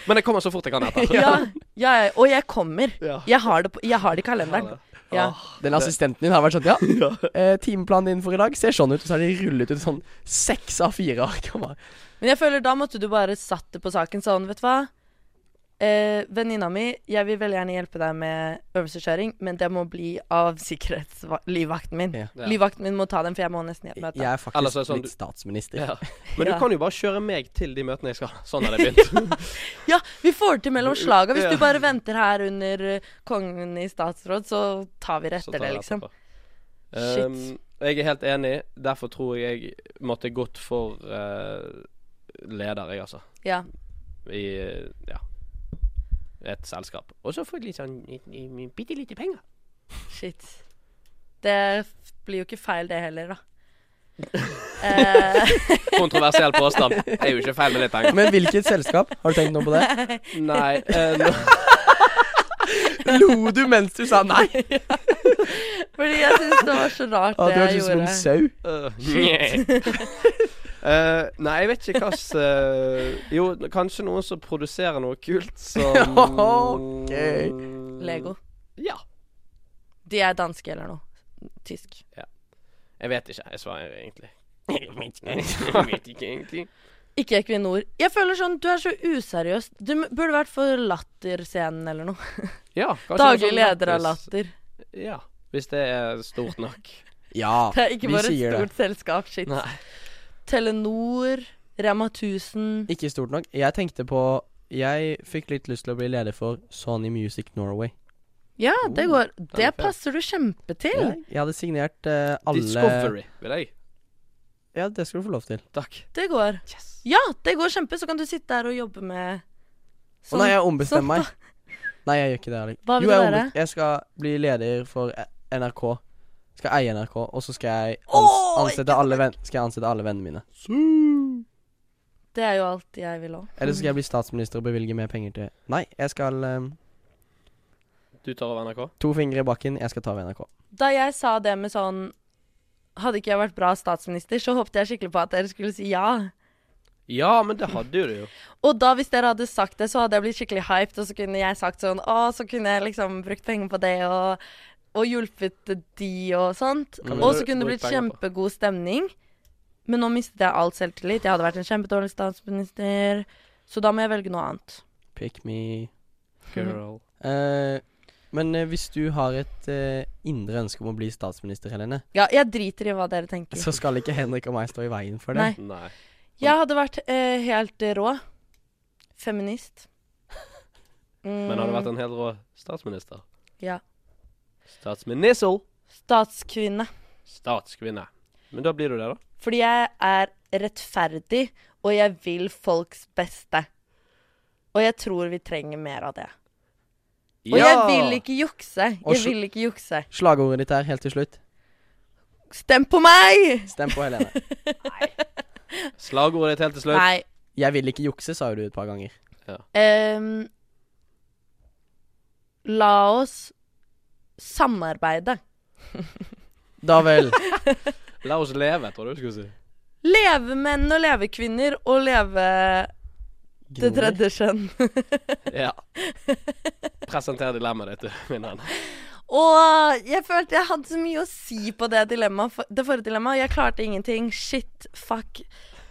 Men jeg kommer så fort jeg kan etter. ja, ja, ja. Og jeg kommer. Ja. Jeg har det, på, jeg har det Ah, i kalenderen. Ja. Den assistenten din har vært sånn, ja. eh, timeplanen din for i dag ser sånn ut. Og så har de rullet ut sånn seks av fire ark. og bare, Men jeg føler da måtte du bare satt det på saken sånn, vet du hva. Eh, Venninna mi, jeg vil veldig gjerne hjelpe deg med øvelseskjøring, men det må bli av sikkerhetslivvakten min. Ja. Ja. Livvakten min må ta den, for jeg må nesten i et møte. Jeg er faktisk Eller så er det sånn blitt statsminister. Ja. Men Ja. du kan jo bare kjøre meg til de møtene jeg skal. Sånn har det begynt. Ja, vi får det til mellom slaga. Hvis Ja. du bare venter her under eh, kongen i statsråd, så tar vi det Så tar etter det, jeg liksom. etterpå. Shit. Um, jeg er helt enig. Derfor tror jeg jeg måtte gått for eh, leder, jeg, altså. Ja. i eh, ja, et selskap. Og så får jeg litt sånn bitte lite penger. Shit. Det f- blir jo ikke feil, det heller, da. eh, Kontroversiell påstand. Det er jo ikke feil med litt penger. Men hvilket selskap? Har du tenkt noe på det? Nei, eh, nå- Lo du mens du sa nei? fordi jeg syns det var så rart, Ja, du det jeg hørtes ut som gjorde. en sau. eh, nye. Eh, nei, jeg vet ikke hva s- eh, Jo, kanskje noen som produserer noe kult som Mm, Ok. Lego. Ja. De er danske eller noe. Tysk. Jeg vet ikke. Jeg svarer egentlig. Jeg vet ikke egentlig. Ikke Equinor. Jeg føler sånn, du er så useriøs. Du m- burde vært for Latterscenen eller noe. Ja, kanskje Daglig noe sånn leder av lættis. Latter. Ja. Hvis det er stort nok. Ja, Det er ikke vi bare et sier det. stort selskap. Shit. Nei. Telenor, Rema 1000 Ikke stort nok. Jeg tenkte på Jeg fikk litt lyst til å bli leder for Sony Music Norway. Ja, Oh, det går. Det fair. passer du kjempe til. Jeg hadde signert eh, alle Discovery, vil jeg. Ja, det skal du få lov til. Takk. Det går. Ja, det går kjempe. Så kan du sitte her og jobbe med Å nei, jeg ombestemmer sånn meg. Nei, jeg gjør ikke det. Alex. Hva vil jo, du jeg, være? ombe- jeg skal bli leder for eh, NRK. Skal eie NRK, og så skal jeg ans Åh, ansette, alle venn- skal jeg ansette alle vennene mine. Det er jo alt jeg vil òg. Eller så skal jeg bli statsminister og bevilge mer penger til Nei, jeg skal ehm, Du tar over NRK? To fingre i bakken, jeg skal ta over NRK. Da jeg sa det med sånn Hadde ikke jeg vært bra statsminister, så håpte jeg skikkelig på at dere skulle si ja. Ja, men det hadde jo du jo. Og da, hvis dere hadde sagt det, så hadde jeg blitt skikkelig hyped, og så kunne jeg sagt sånn Å, så kunne jeg liksom brukt penger på det, og, og hjulpet de, og sånt. Kan vi Og så bru- kunne det bruke blitt penger på? kjempegod stemning. Men nå mistet jeg all selvtillit. Jeg hadde vært en kjempedårlig statsminister. Så da må jeg velge noe annet. Pick me. Girl. Eh, men eh, hvis du har et eh, indre ønske om å bli statsminister, Helene, Ja, jeg driter i hva dere tenker. så skal ikke Henrik og meg stå i veien for det. Nei. Nei. Jeg hadde vært eh, helt eh, rå. Feminist. Mm, Men hadde vært en helt rå statsminister. Ja. Statsminissel. Statskvinne. Statskvinne. Men da blir du det, da. Fordi jeg er rettferdig, og jeg vil folks beste. Og jeg tror vi trenger mer av det. Og jeg vil ikke jukse. Og Jeg sl- vil ikke jukse. Slagordet ditt her helt til slutt. Stem på meg! Stem på Helene. Slagordet ditt helt til slutt. Nei. Jeg vil ikke jukse, sa jo du et par ganger. ehm, la oss samarbeide. Da vel. La oss leve, tror du du skulle si. Leve menn og leve kvinner, og leve det Gnor. tredje kjønn. Ja. Presenter dilemmaet ditt, vinneren. Og jeg følte jeg hadde så mye å si på det dilemmaet. for- Det forrige dilemmaet. Jeg klarte ingenting. Shit. Fuck.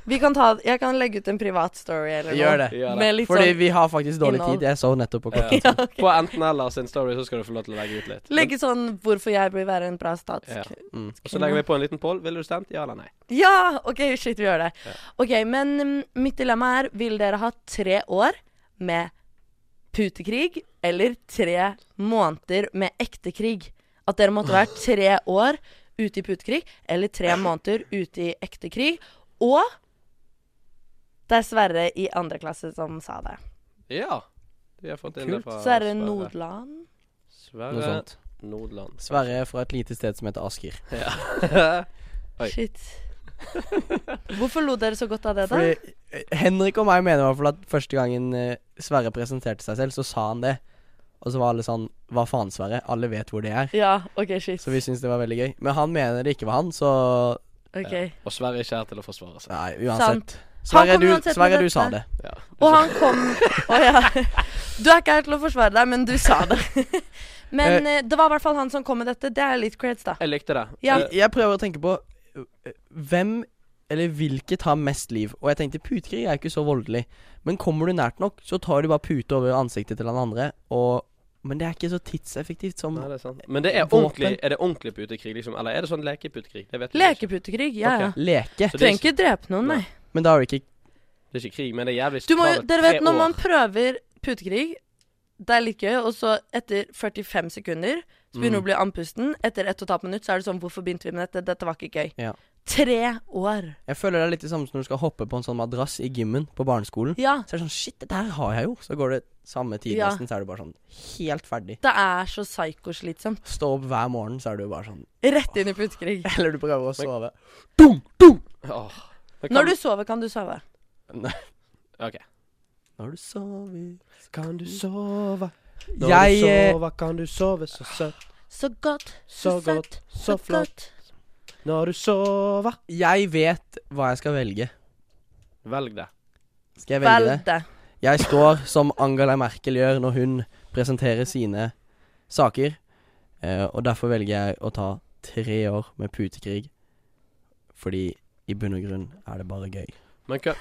Vi kan ta, jeg kan legge ut en privat story eller noe. Gjør det. Gjør det. Med litt Fordi sånn vi har faktisk dårlig innhold. tid. Jeg så nettopp på klokken. Ja. På enten-eller sin story så skal du få lov til å legge ut litt. Men, Legge sånn 'hvorfor jeg bør være en bra statskvinne'. Mm. og så legger vi på en liten poll. Ville du stemt? Ja eller nei? Ja, OK, shit, vi gjør det. Ja. OK, men mm, mitt dilemma er vil dere ha tre år med putekrig eller tre måneder med ekte krig? At dere måtte være tre år ute i putekrig eller tre måneder ute i ekte krig. Og det er Sverre i andre klasse som sa det. Ja. Vi har fått inn det Kult. fra Sverre Nordland. Noe Sverre sånt. Nordland. Sverre er fra et lite sted som heter Asker. Oi. Shit. Hvorfor lo dere så godt av det, da? Fordi eh, Henrik og meg mener i hvert fall at første gangen eh, Sverre presenterte seg selv, så sa han det. Og så var alle sånn Hva faen, Sverre? Alle vet hvor det er. Ja, OK, shit. Så vi syntes det var veldig gøy. Men han mener det ikke var han, så Ok. Og Sverre er ikke her til å forsvare seg. Nei, Sant. uansett. Han Sverre, kommer du, uansett med Sverre, du dette. sa det. Ja. Og han kom Å ja. Du er ikke her til å forsvare deg, men du sa det. Men eh, det var i hvert fall han som kom med dette. Det er litt creds, da. Jeg likte det. Ja. Eh, Jeg- Jeg prøver å tenke på eh, hvem eller hvilket har mest liv. Og jeg tenkte putekrig er ikke så voldelig. Men kommer du nært nok, så tar du bare pute over ansiktet til han andre. Og, men det er ikke så tidseffektivt som Nei, det er sant. Men det er Våpen. ordentlig Er det ordentlig putekrig, liksom? Eller er det sånn lekeputekrig? Det vet vi ikke. Lekeputekrig. Ja, ja. leke. Så det er, Trenger ikke, ikke drepe noen, nei. Men da er det ikke det er ikke krig, men det er jævlig Du må, jo- kravet dere tre vet, når år. man prøver putekrig, det er litt gøy, og så etter 45 sekunder så Mm. begynner du å bli andpusten. Etter 1 12 minutt så er det sånn Hvorfor begynte vi med dette? Dette var ikke gøy. Ja. Tre år. Jeg føler det er litt det samme som når du skal hoppe på en sånn madrass i gymmen på barneskolen. Ja. Så er det sånn Shit, det der har jeg jo. Så går det samme tid Ja. nesten, så er du bare sånn helt ferdig. Det er så psykoslitsomt. Stå opp hver morgen, så er du jo bare sånn Rett inn i putekrig. Eller du prøver å sove. Mm. Åh. Men kan, Når du sover, kan du sove. Ok. Når du sover Kan du sove? Når Jeg du eh, sover, kan du sove så søtt, Så godt, så godt, så flott. Når du sover Jeg vet hva jeg skal velge. Velg det. Skal jeg velge det? Veldig. Jeg står som Angela Merkel gjør når hun presenterer sine saker. eh, og derfor velger jeg å ta tre år med putekrig. Fordi i bunn og grunn er det bare gøy. Men kan,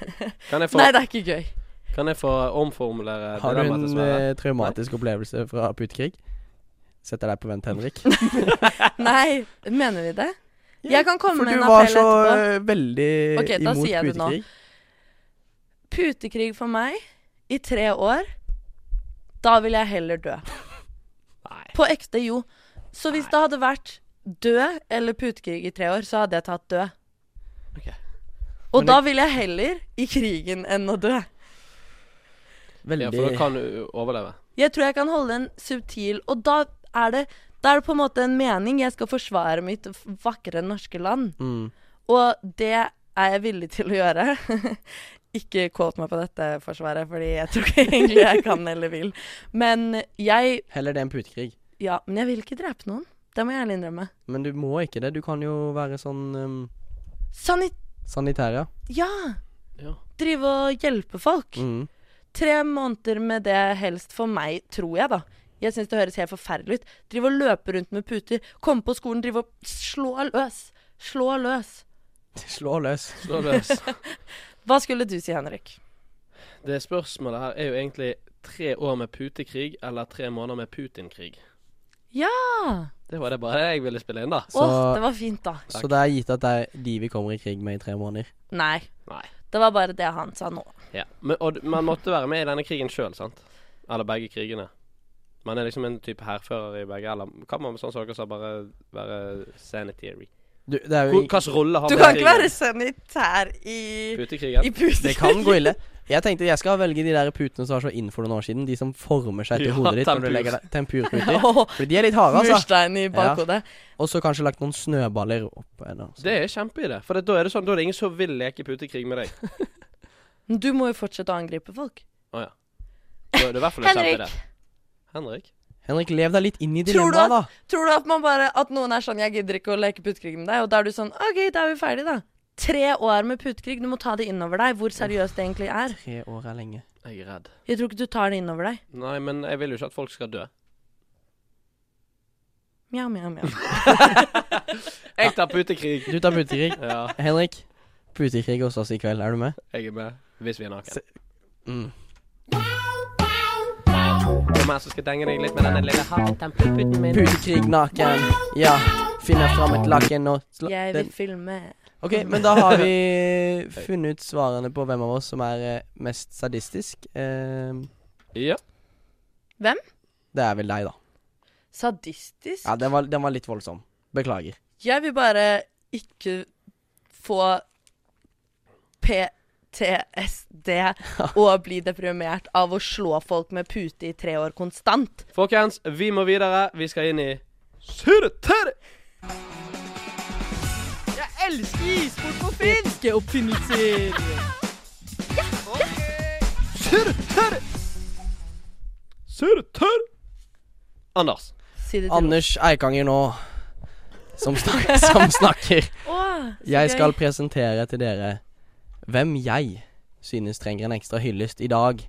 kan, jeg få, Nei, det er ikke gøy. kan jeg få omformulere Har du dilemmaet til en Sverre? eh, traumatisk opplevelse fra putekrig? Setter deg på vent, Henrik. Nei, mener vi det? Ja, Jeg kan komme For med du en var appell så etterpå. eh, veldig Ok, da imot sier jeg det nå. putekrig. Putekrig for meg i tre år. Da vil jeg heller dø. Nei. På ekte, jo. Så hvis det hadde vært død eller putekrig i tre år, så hadde jeg tatt død. Ok. Og Men da vil jeg heller i krigen enn å dø. Veldig Ja, for da kan du overleve. Jeg tror jeg kan holde en subtil Og da er det, da er det på en måte en mening. Jeg skal forsvare mitt f- vakre norske land. mm. Og det er jeg villig til å gjøre. ikke quote meg på dette, Forsvaret, fordi jeg tror ikke egentlig jeg kan eller vil. Men jeg Heller det enn putekrig. Ja, men jeg vil ikke drepe noen. Det må jeg ærlig innrømme. Men du må ikke det. Du kan jo være sånn um, Sanit... sanitær, ja. Ja! Ja. Drive og hjelpe folk. Mm. Tre måneder med det helst for meg, tror jeg, da. Jeg syns det høres helt forferdelig ut. Drive og løpe rundt med puter. Komme på skolen, drive og slå løs. Slå løs. Slå løs. Slå løs. Hva skulle du si, Henrik? Det spørsmålet her er jo egentlig tre år med putekrig eller tre måneder med Putin-krig. Ja! Det var det bare det jeg ville spille inn, da. Så- Åh, det var fint, da. Så det er gitt at det er de vi kommer i krig med i tre måneder. Nei. Nei. Det var bare det han sa nå. Ja. Men, og d- man måtte være med i denne krigen sjøl, sant? Eller begge krigene. Man er liksom en type hærfører i begge, eller kan man sånn som dere sa, bare være sanitary? Du, det er jo i- Hvilken rolle har Du man i kan ikke krigen? være sanitær i, Putekrigen? i puter. Det kan gå ille. Jeg tenkte jeg skal velge de der putene som var så inn for noen år siden. De som former seg til Ja, hodet ditt. Når tempur. du legger deg Tempurputer. Åh, For de er litt harde, altså. Murstein i bakhodet. Og så kanskje lagt noen snøballer opp. eh, Eller, noe sånt. Det er kjempeidé. For det, da er det sånn, da er det ingen som vil leke putekrig med deg. Men Du må jo fortsette å angripe folk. Da er det i hvert fall en Henrik, kjempeidé. Henrik? Henrik, lev deg litt inn i Tror du dilemmaet, da. tror du at man bare At noen er sånn 'Jeg gidder ikke å leke putekrig med deg', og da er du sånn 'OK, da er vi ferdige, da'. Tre år med putekrig. Du må ta det innover deg hvor seriøst det egentlig er. Tre år er lenge. Jeg er redd. Jeg tror ikke du tar det innover deg. Nei, men jeg vil jo ikke at folk skal dø. Mjau, mjau, mjau. Jeg tar putekrig. Du tar putekrig. Ja, Henrik, putekrig hos oss i kveld. Er du med? jeg er med. Hvis vi er naken. Mm. Kom her, så skal jeg denge deg litt med denne lille hatten. Putekrig naken. Ja. Finner fram et laken og sla- Jeg den- vil filme. Ok, men da har vi funnet ut svarene på hvem av oss som er eh, mest sadistisk. Eh, Ja. Det er vel deg, da. Sadistisk. Ja, den var, den var litt voldsom. Beklager. Jeg vil bare ikke få PTSD og bli deprimert av å slå folk med pute i tre år konstant. Folkens, vi må videre. Vi skal inn i Surretere! Finske oppfinnelser! Surretere! Surretere! Anders. Si det til Anders Eikanger nå, som, snak som snakker. Åh, så Jeg gøy. skal presentere til dere hvem jeg synes trenger en ekstra hyllest i dag,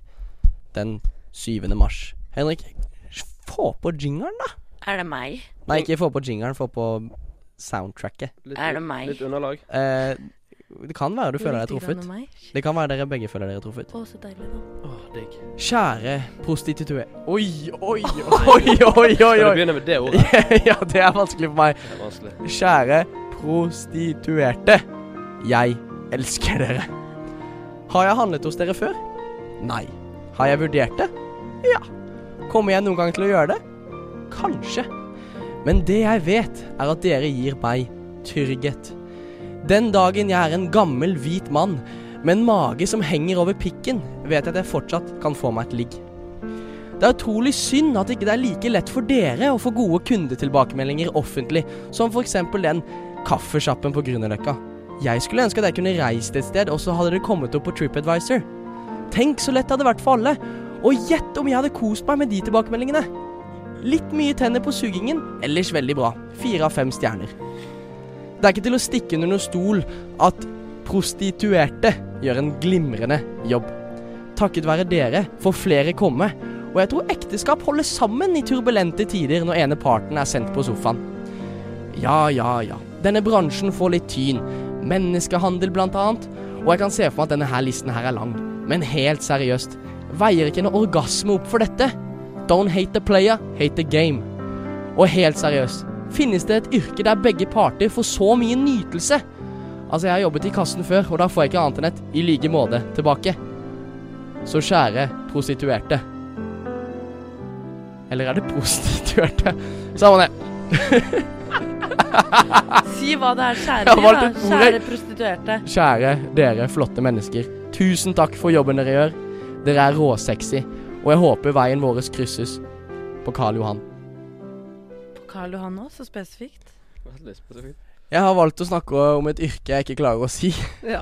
den 7. mars. Henrik, få på jingeren, da. Er det meg? Nei, ikke få på jingeren, få på soundtracket. Litt, Er det meg? Litt underlag. Eh, det kan være du føler deg Litt grann truffet. om meg? Det kan være dere begge føler dere truffet. Å, så deilig, da. Åh, digg. Kjære prostituer... Oi, oi, oi, oi, oi, Skal du oi. begynne med det ordet? Ja, det er vanskelig for meg. Det er vanskelig. Kjære prostituerte. Jeg elsker dere. Har jeg handlet hos dere før? Nei. Har jeg vurdert det? Ja. Kommer jeg noen gang til å gjøre det? Kanskje. Men det jeg vet, er at dere gir meg trygghet. Den dagen jeg er en gammel, hvit mann med en mage som henger over pikken, vet jeg at jeg fortsatt kan få meg et ligg. Det er utrolig synd at ikke det er like lett for dere å få gode kundetilbakemeldinger offentlig, som for eksempel den kaffesjappen på Grünerløkka. Jeg skulle ønske at jeg kunne reist et sted, og så hadde det kommet opp på TripAdvisor. Tenk så lett det hadde vært for alle. Og gjett om jeg hadde kost meg med de tilbakemeldingene. Litt mye tenner på sugingen, ellers veldig bra. Fire av fem stjerner. Det er ikke til å stikke under noen stol at prostituerte gjør en glimrende jobb. Takket være dere får flere komme, og jeg tror ekteskap holder sammen i turbulente tider når ene parten er sendt på sofaen. Ja, ja, ja. Denne bransjen får litt tyn. Menneskehandel, blant annet. Og jeg kan se for meg at denne her listen her er lang. Men helt seriøst, veier ikke en orgasme opp for dette? Don't hate the player, hate the game. Og helt seriøst, finnes det et yrke der begge parter får så mye nytelse? Altså, jeg har jobbet i kassen før, og da får jeg ikke annet enn et 'i like måte' tilbake. Så kjære prostituerte. Eller er det prostituerte? Samme det. Si Ah, Si hva det er, Jeg kjære, har valgt et de, da. ord, jeg. kjære prostituerte. Kjære dere flotte mennesker. Tusen takk for jobben dere gjør. Dere er råsexy, og jeg håper veien vår krysses på Karl Johan. På Karl Johan òg, så spesifikt. Veldig spesifikt. Jeg har valgt å snakke om et yrke jeg ikke klarer å si. Ja.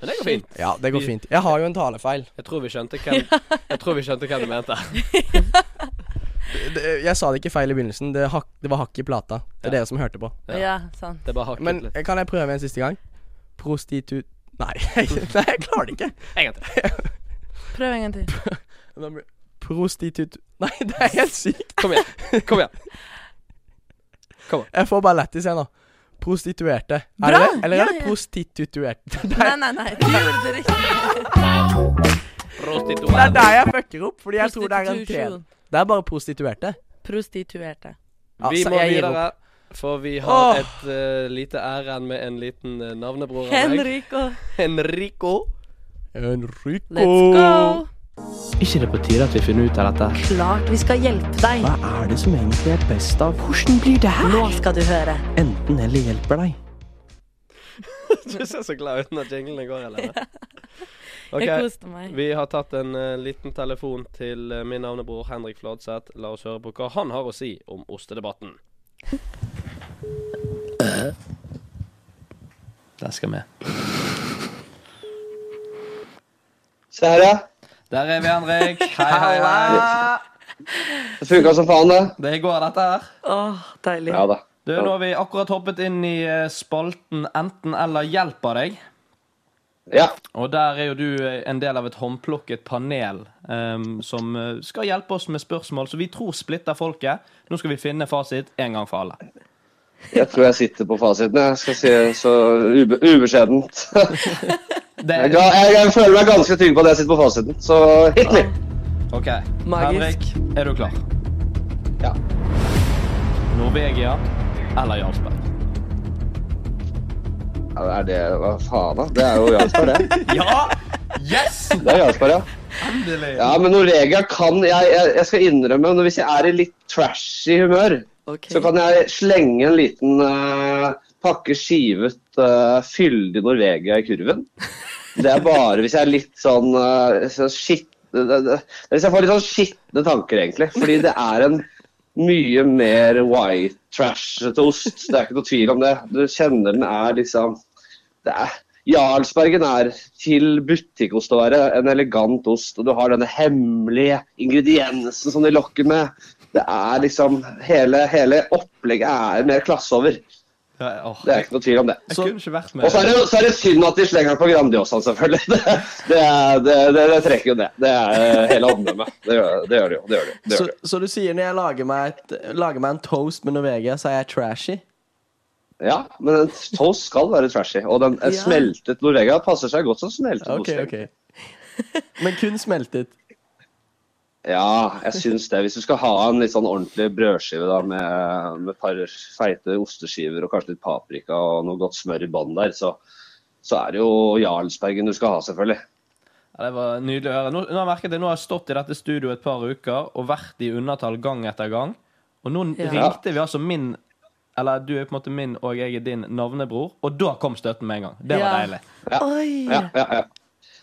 Men det går fint. Ja, det går fint. Jeg har jo en talefeil. Jeg tror vi skjønte hvem, jeg tror vi skjønte hvem du mente. Det- Jeg sa det ikke feil i begynnelsen. Det, hak, det var hakk i plata. Det er dere som hørte på. Ja. Ja, sånn. Det er bare hakket Men litt. kan jeg prøve en siste gang? Prostitu... Nei, nei, jeg klarer det ikke. En gang til. Prøv en gang til. Da blir- Prostitut... Nei, det er helt sykt. Kom igjen. Kom igjen. Jeg får bare lættis, jeg nå. Prostituerte. Er Bra! det det? Eller Ja, er det ja. prostituerte? Det Nei, er, nei, nei. Du gjorde det riktig. det er Prostituert. der jeg fucker opp, fordi jeg tror det er en T. Prostitusjon. Det er bare prostituerte. Prostituerte. Vi Altså, må jeg gir videre, for vi har Åh. et eh, lite ærend med en liten eh, navnebror av meg. Henrico. Henrico. Enrico. Let's go. Ikke det på tide at vi finner ut av dette? Klart vi skal hjelpe deg. Hva er det som egentlig er best av? Hvordan blir det her? Nå skal du høre. Enten eller hjelper deg. Du ser så glad ut når jinglene går, eller? Jeg Ok, koste meg. Vi har tatt en eh, liten telefon til eh, min navnebror Henrik Fladseth. La oss høre på hva han har å si om ostedebatten. Den Eh? skal med. Se her, ja. Der er vi, Henrik. Hei, hei, hei. Det funka som faen, det. Det går, dette her. Åh, deilig. Ja da. Du, nå har vi akkurat hoppet inn i eh, spalten Enten eller hjelper deg. Ja. Og der er jo du eh, en del av et håndplukket panel ehm, som eh, skal hjelpe oss med spørsmål som vi tror splitter folket. Nå skal vi finne fasit en gang for alle. Jeg tror jeg sitter på fasiten. Jeg skal si så ube ubeskjedent. Det Jeg, ga- jeg, jeg føler meg ganske trygg på at jeg sitter på fasiten, så hit me. OK. Henrik, Magisk. er du klar? Ja. Norvegia eller Jarlsberg? Ja, Er det Hva faen, da? Det er jo Jarlsberg, det. Ja! Yes! Det er Jarlsberg, ja. Endelig. Ja, men Norvegia kan jeg, jeg, jeg skal innrømme, når- hvis jeg er i litt trashy humør, så kan jeg slenge en liten eh, pakke skivet eh, fyldig Norvegia i kurven. Det er bare hvis jeg er litt sånn eh, så skitt, det, det, det, Hvis jeg får litt sånn skitne tanker, egentlig. Fordi det er en mye mer white trash-ete ost. Det er ikke noe tvil om det. Du kjenner den er liksom det er, Jarlsbergen er til butikkost å være en elegant ost, og du har denne hemmelige ingrediensen som de lokker med. Det er liksom Hele, hele opplegget er mer klasse over. Ja, åh, Det er ikke noe tvil om det. Jeg kunne ikke vært Og så er, med. det, så er det synd at de slenger den på Grandiosaen, selvfølgelig. Det, det, er- det, det, det trekker jo ned. Det er eh, hele omdømmet. Det, gjør- det gjør det jo. Det gjør det, jo, det Så, gjør det. jo. så du sier når jeg lager meg, et, lager meg en toast med Norvegia, så er jeg trashy? Ja, men en toast skal være trashy. Og den, en Ja. smeltet Norvega passer seg godt som smeltet Ok, ost. ok. Men kun smeltet. Ja, jeg syns det. Hvis du skal ha en litt sånn ordentlig brødskive da, med, med et par feite osteskiver og kanskje litt paprika og noe godt smør i bånn der, så, så er det jo Jarlsbergen du skal ha, selvfølgelig. Ja, det var nydelig å høre. Nå, nå har jeg merket det, nå har jeg stått i dette studioet et par uker og vært i undertall gang etter gang. Og nå Ja. ringte vi altså min Eller du er på en måte min, og jeg er din navnebror. Og da kom støtten med en gang. Det var Ja. deilig. Oi. Ja, ja, ja.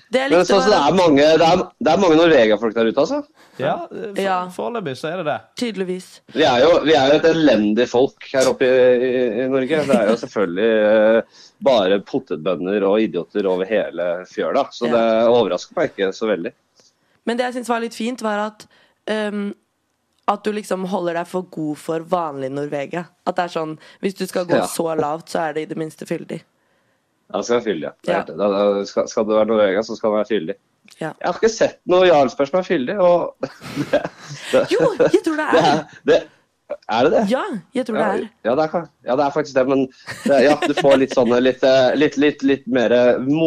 Det jeg Men likte, sånn, så det, var er mange, det, er, det er mange Norvegia-folk der ute, altså. Ja, for, Ja. Foreløpig så er det det. tydeligvis Vi er jo, vi er jo et elendig folk her oppe i, i, i Norge. Det er jo selvfølgelig eh, bare potetbønder og idioter over hele fjøla, så Ja. det overrasker meg ikke så veldig. Men det jeg syns var litt fint, var at øhm, At du liksom holder deg for god for vanlig Norvegia. At det er sånn Hvis du skal gå Ja. så lavt, så er det i det minste fyldig. Ja, skal være fyldig. Ja. Det er Ja. helt det. Da, da, skal, skal det være Norvegia, så skal det være fyldig. Ja. Jeg har ikke sett noe Jarlsberg som er fyldig, og Jo, jeg tror det er det er det. Er det det? Ja, jeg tror det er. Ja, det er, kan- ja, det er faktisk det, men det, ja, du får litt sånne litt, eh, litt, litt, litt mer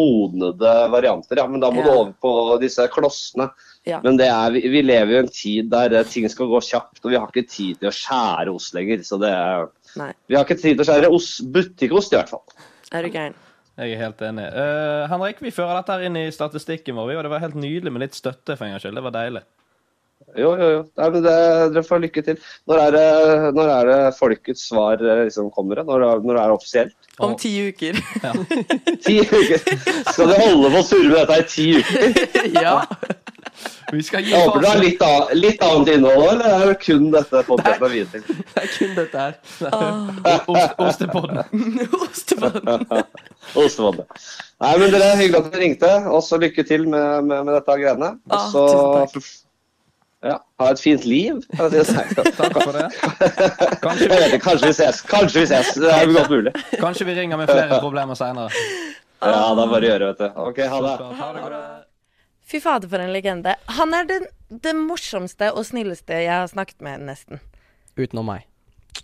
modnede varianter. Ja, men da må du Ja. over på disse klossene. Ja. Men det er, vi, vi lever jo i en tid der eh, ting skal gå kjapt, og vi har ikke tid til å skjære ost lenger. Så det er, Nei, vi har ikke tid til å skjære ost, butikkost i hvert fall. er du gæren. Jeg er helt enig. Eh, Henrik, vi fører dette her inn i statistikken vår, vi, og det var helt nydelig med litt støtte for en gangs skyld. Det var deilig. Jo, jo, jo. Nei, men det, dere får lykke til. Når er det, når er det folkets svar eh, liksom kommer? da? Når, er- når er det offisielt? Om ti uker. Ti uker! Skal dere holde på å surre med dette i ti uker? ja. Vi skal gi Jeg håper dere har faen. litt, annet- litt annet innhold òg, eller er det kun dette podkasten er viet til? Det er kun dette her. Ost- Ostepodden. Ostepodden. Ostevåndet. Nei, men dere, hyggelig at dere ringte. Og så lykke til med, med, med dette greiene. Og Ah, så tusen ja, ha et fint liv. kan jeg si. Takk for det. Jeg Kanskje, vet ikke, kanskje vi ses. Kanskje vi ses. Det er jo godt mulig. kanskje vi ringer med flere problemer seinere. Ja, det er bare å gjøre, vet du. OK, ha det. Fy fader, for en legende. Han er den, den morsomste og snilleste jeg har snakket med, nesten. Utenom meg.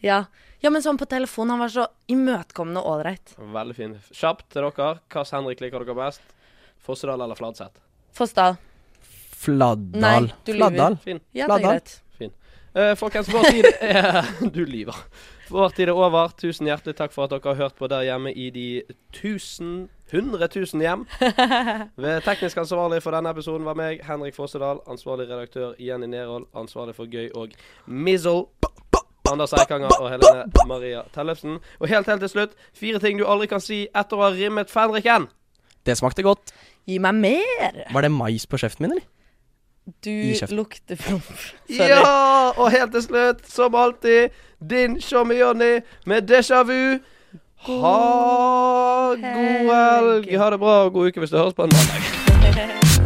Ja. ja, men sånn på telefon. Han var så imøtekommende og ålreit. Veldig fin. Kjapt til dere. Hva Henrik liker dere best? Fossedal eller Fladseth? Fossdal. Nei, Fladdal. du lyver. Fladdal. Fin. Ja, det er Fladdal. greit. Eh, folkens, vår tid er Du lyver. Vår tid er over. Tusen hjertelig takk for at dere har hørt på der hjemme i de tusen, hundre tusen hjem. Ved teknisk ansvarlig for denne episoden var meg, Henrik Fossedal. Ansvarlig redaktør Jenny Nerhold. Ansvarlig for Gøy og Mizzle. Anders Eikanger og Helene Maria Tellefsen. Og helt helt til slutt, fire ting du aldri kan si etter å ha rimmet fenriken. Det smakte godt. Gi meg mer! Var det mais på kjeften min, eller? Du Gi kjeft. lukter promp. Sorry. Ja! Og helt til slutt, som alltid, din Tjommi Jonny med déjà vu. Ha god helg. Ha det bra og god uke hvis du høres på en mandag.